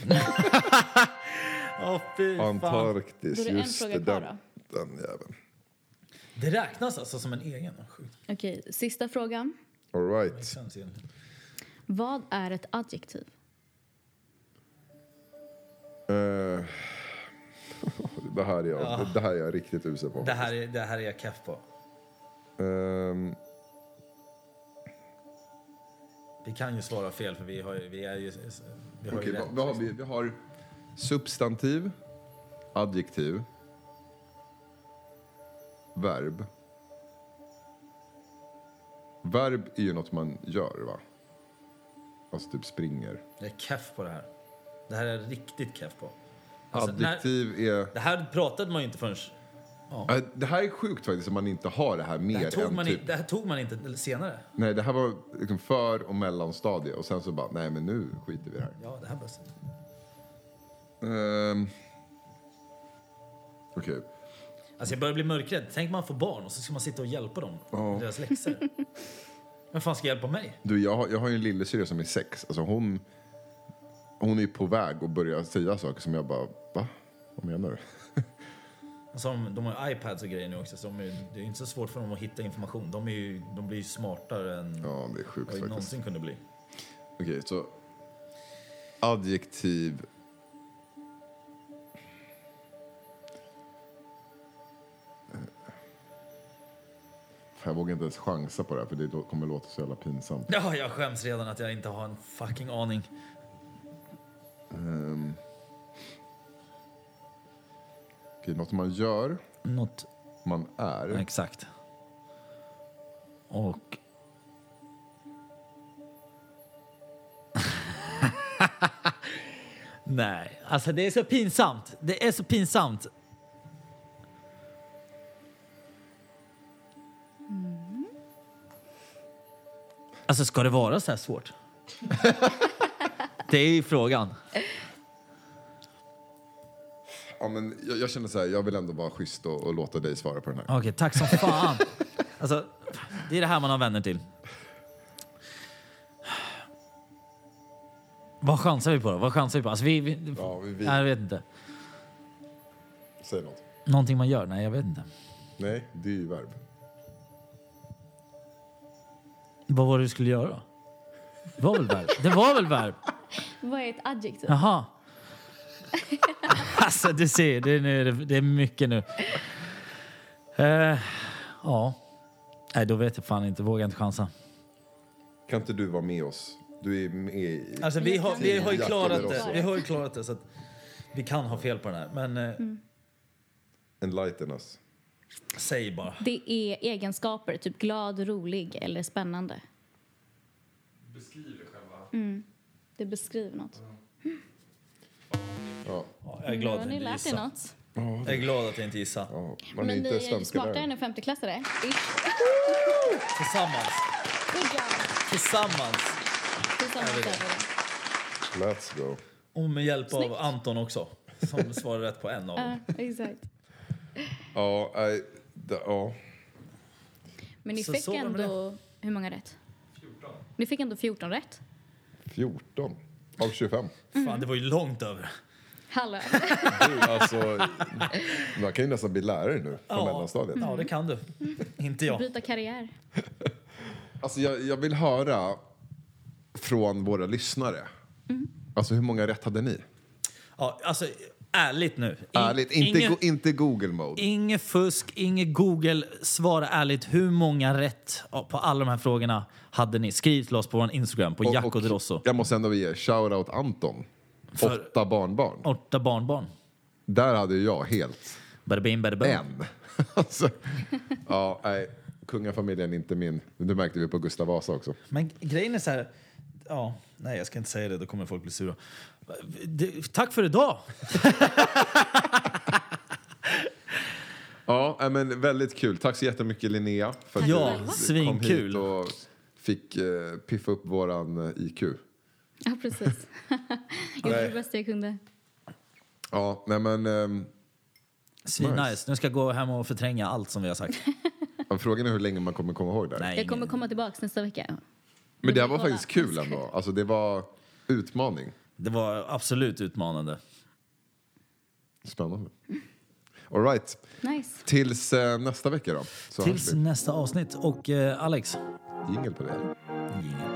[SPEAKER 1] Åh fy fan.
[SPEAKER 2] Antarktis,
[SPEAKER 3] Då är det en
[SPEAKER 2] just
[SPEAKER 3] fråga
[SPEAKER 2] det.
[SPEAKER 3] kvar
[SPEAKER 2] Den, den jäveln.
[SPEAKER 1] Det räknas alltså som en egen? Sjukt.
[SPEAKER 3] Okej, sista frågan.
[SPEAKER 2] All
[SPEAKER 1] Det
[SPEAKER 2] right.
[SPEAKER 1] känns egentligen.
[SPEAKER 3] Vad är ett adjektiv?
[SPEAKER 2] Eh, det, här är jag, det här är jag riktigt usel på.
[SPEAKER 1] Ah. Det här är, det här är jag keff på.
[SPEAKER 2] Ehm,
[SPEAKER 1] Vi kan ju svara fel för vi har ju, vi är ju, vi har
[SPEAKER 2] Okej,
[SPEAKER 1] ju
[SPEAKER 2] vad,
[SPEAKER 1] rätt.
[SPEAKER 2] vad har vi? Vi har substantiv, adjektiv, verb. Verb är ju något man gör, va? Alltså typ springer.
[SPEAKER 1] Jag är keff på det här. Det här är jag riktigt keff på. Alltså, när,
[SPEAKER 2] Adjektiv är...
[SPEAKER 1] det här pratade man ju inte förrän...
[SPEAKER 2] Äh, Det här är sjukt faktiskt, att man inte har det här
[SPEAKER 1] Det här,
[SPEAKER 2] mer
[SPEAKER 1] tog
[SPEAKER 2] än
[SPEAKER 1] man
[SPEAKER 2] typ...
[SPEAKER 1] inte, det här tog man inte senare.
[SPEAKER 2] Nej, det här var liksom för och mellanstadie och sen så bara, nej men nu skiter vi i det här.
[SPEAKER 1] Ja, det här börjar sen.
[SPEAKER 2] Ehm. Okej.
[SPEAKER 1] Alltså jag börjar bli mörkrädd. Tänk man får barn och så ska man sitta och hjälpa dem med deras läxor. Vem fan ska hjälpa mig?
[SPEAKER 2] Du, jag har, jag har ju en lillasyrra som är sex. Alltså hon, hon är ju på väg att börja säga saker som jag bara, va? Vad menar du?
[SPEAKER 1] Alltså de, de har ju iPads och grejer nu också. Så de är, det är ju inte så svårt för dem att hitta information. De, är ju, de blir ju smartare än
[SPEAKER 2] Ja, det är
[SPEAKER 1] vad
[SPEAKER 2] sjukt
[SPEAKER 1] vi
[SPEAKER 2] faktiskt.
[SPEAKER 1] någonsin kunde bli.
[SPEAKER 2] Okej, så adjektiv. Fan, Eh. Jag vågar inte ens chansa på det här för det då- kommer låta så jävla pinsamt.
[SPEAKER 1] Ja, jag skäms redan att jag inte har en fucking aning.
[SPEAKER 2] Um, okej, något man gör,
[SPEAKER 1] Något
[SPEAKER 2] man är.
[SPEAKER 1] Exakt. Och... Nej, alltså det är så pinsamt. Det är så pinsamt. Mm. Alltså ska det vara så här svårt? det är ju frågan.
[SPEAKER 2] Ja, men jag, jag känner så här, jag vill ändå vara schysst och, och låta dig svara på den här.
[SPEAKER 1] Okej, tack som fan. Alltså, det är det här man har vänner till. Vad chansar vi på då? Vad chansar vi på? Alltså, vi, vi,
[SPEAKER 2] Ja, vi- vi-
[SPEAKER 1] Nej, jag vet inte.
[SPEAKER 2] Säg något.
[SPEAKER 1] Någonting man gör? Nej, jag vet inte.
[SPEAKER 2] Nej, det är ju verb.
[SPEAKER 1] Vad var det du skulle göra då? Det var väl verb? Det var väl verb?
[SPEAKER 3] Vad är ett adjektiv?
[SPEAKER 1] Jaha. Alltså, du ser. Det är, nu, det är mycket nu. Eh, ja. Nej, då vet jag fan inte. Vågar inte chansa.
[SPEAKER 2] Kan inte du vara med oss? Du är med i...
[SPEAKER 1] Alltså, vi, har, vi, har ju
[SPEAKER 2] Jack
[SPEAKER 1] klarat
[SPEAKER 2] eller
[SPEAKER 1] det,
[SPEAKER 2] Rosso.
[SPEAKER 1] vi har ju klarat det, så att vi kan ha fel på den här. Men eh,
[SPEAKER 2] Enlighten us.
[SPEAKER 1] säg bara.
[SPEAKER 3] Det är egenskaper, typ glad, rolig eller spännande. Mm.
[SPEAKER 5] Beskriver själva.
[SPEAKER 3] Det beskriver något.
[SPEAKER 2] Ja.
[SPEAKER 1] Ja, Jag är glad
[SPEAKER 3] Nu
[SPEAKER 1] att
[SPEAKER 3] har
[SPEAKER 1] jag
[SPEAKER 3] ni
[SPEAKER 1] inte
[SPEAKER 3] lärt er
[SPEAKER 1] gissade.
[SPEAKER 3] något.
[SPEAKER 1] Jag är glad att jag inte gissade.
[SPEAKER 2] ja. Man
[SPEAKER 3] Men
[SPEAKER 2] är
[SPEAKER 3] ni
[SPEAKER 2] inte
[SPEAKER 3] är ju
[SPEAKER 2] svenskare.
[SPEAKER 3] smartare än en femteklassare. Ish.
[SPEAKER 1] Tillsammans.
[SPEAKER 3] Good job.
[SPEAKER 1] Tillsammans.
[SPEAKER 3] Tillsammans
[SPEAKER 1] det.
[SPEAKER 3] över det.
[SPEAKER 2] Let's go.
[SPEAKER 1] Och med hjälp av Anton också, som svarar rätt på en av dem.
[SPEAKER 3] Ja, exakt.
[SPEAKER 2] Ja, nej, det- ja.
[SPEAKER 3] Men ni
[SPEAKER 1] Så
[SPEAKER 3] fick
[SPEAKER 1] så var det med
[SPEAKER 3] ändå... Hur många rätt? 14. Ni fick ändå 14 rätt.
[SPEAKER 2] 14 av 25.
[SPEAKER 1] Fan, det var ju långt över.
[SPEAKER 3] Hallå.
[SPEAKER 2] Du, alltså, man kan ju nästan bli lärare nu på mellanstadiet.
[SPEAKER 1] ja, det kan du. Inte jag.
[SPEAKER 3] Byta karriär.
[SPEAKER 2] Alltså, jag, jag vill höra från våra lyssnare.
[SPEAKER 1] Mm.
[SPEAKER 2] Alltså, hur många rätt hade ni?
[SPEAKER 1] Ja, alltså, ärligt nu. In-
[SPEAKER 2] Ärligt, inte,
[SPEAKER 1] inget-
[SPEAKER 2] go, inte Google-mode.
[SPEAKER 1] Inget fusk, inget Google. Svara ärligt. Hur många rätt på alla de här frågorna hade ni? Skriv till oss på vår Instagram, på Jack och Drosso.
[SPEAKER 2] Jag måste ändå ge shout-out Anton.
[SPEAKER 1] För-
[SPEAKER 2] Åtta barnbarn.
[SPEAKER 1] Åtta barnbarn.
[SPEAKER 2] Där hade ju jag helt
[SPEAKER 1] Bada bing, bada boom.
[SPEAKER 2] en. alltså, ja, nej, kungafamiljen är inte min. Det märkte vi på Gustav Vasa också.
[SPEAKER 1] Men grejen är så här... Ja, nej, jag ska inte säga det. Då kommer folk bli sura. Det, tack för idag!
[SPEAKER 2] Ja, nej, men väldigt kul. Tack så jättemycket Linnea för att
[SPEAKER 1] Ja,
[SPEAKER 2] du kom
[SPEAKER 1] svinkul.
[SPEAKER 2] hit och fick eh, piffa upp våran eh, IQ.
[SPEAKER 3] Ja, precis. Gjorde det bästa jag kunde.
[SPEAKER 2] Ja, nej men ehm,
[SPEAKER 1] Svinnice.
[SPEAKER 2] Nice.
[SPEAKER 1] Nu ska jag gå hem och förtränga allt som vi har sagt.
[SPEAKER 2] Men Frågan är hur länge man kommer komma ihåg det. här.
[SPEAKER 1] Nej,
[SPEAKER 3] Jag kommer
[SPEAKER 1] ingen-
[SPEAKER 3] komma tillbaka nästa vecka.
[SPEAKER 2] Men det här var
[SPEAKER 3] Kolla.
[SPEAKER 2] faktiskt kul ändå. Alltså det var utmaning.
[SPEAKER 1] Det var absolut utmanande.
[SPEAKER 2] Spännande. All right.
[SPEAKER 3] Nice.
[SPEAKER 2] Tills eh, nästa vecka då. Så
[SPEAKER 1] Tills
[SPEAKER 2] hörs vi.
[SPEAKER 1] nästa avsnitt. Och eh, Alex,
[SPEAKER 2] Jingel på det.
[SPEAKER 1] jingel.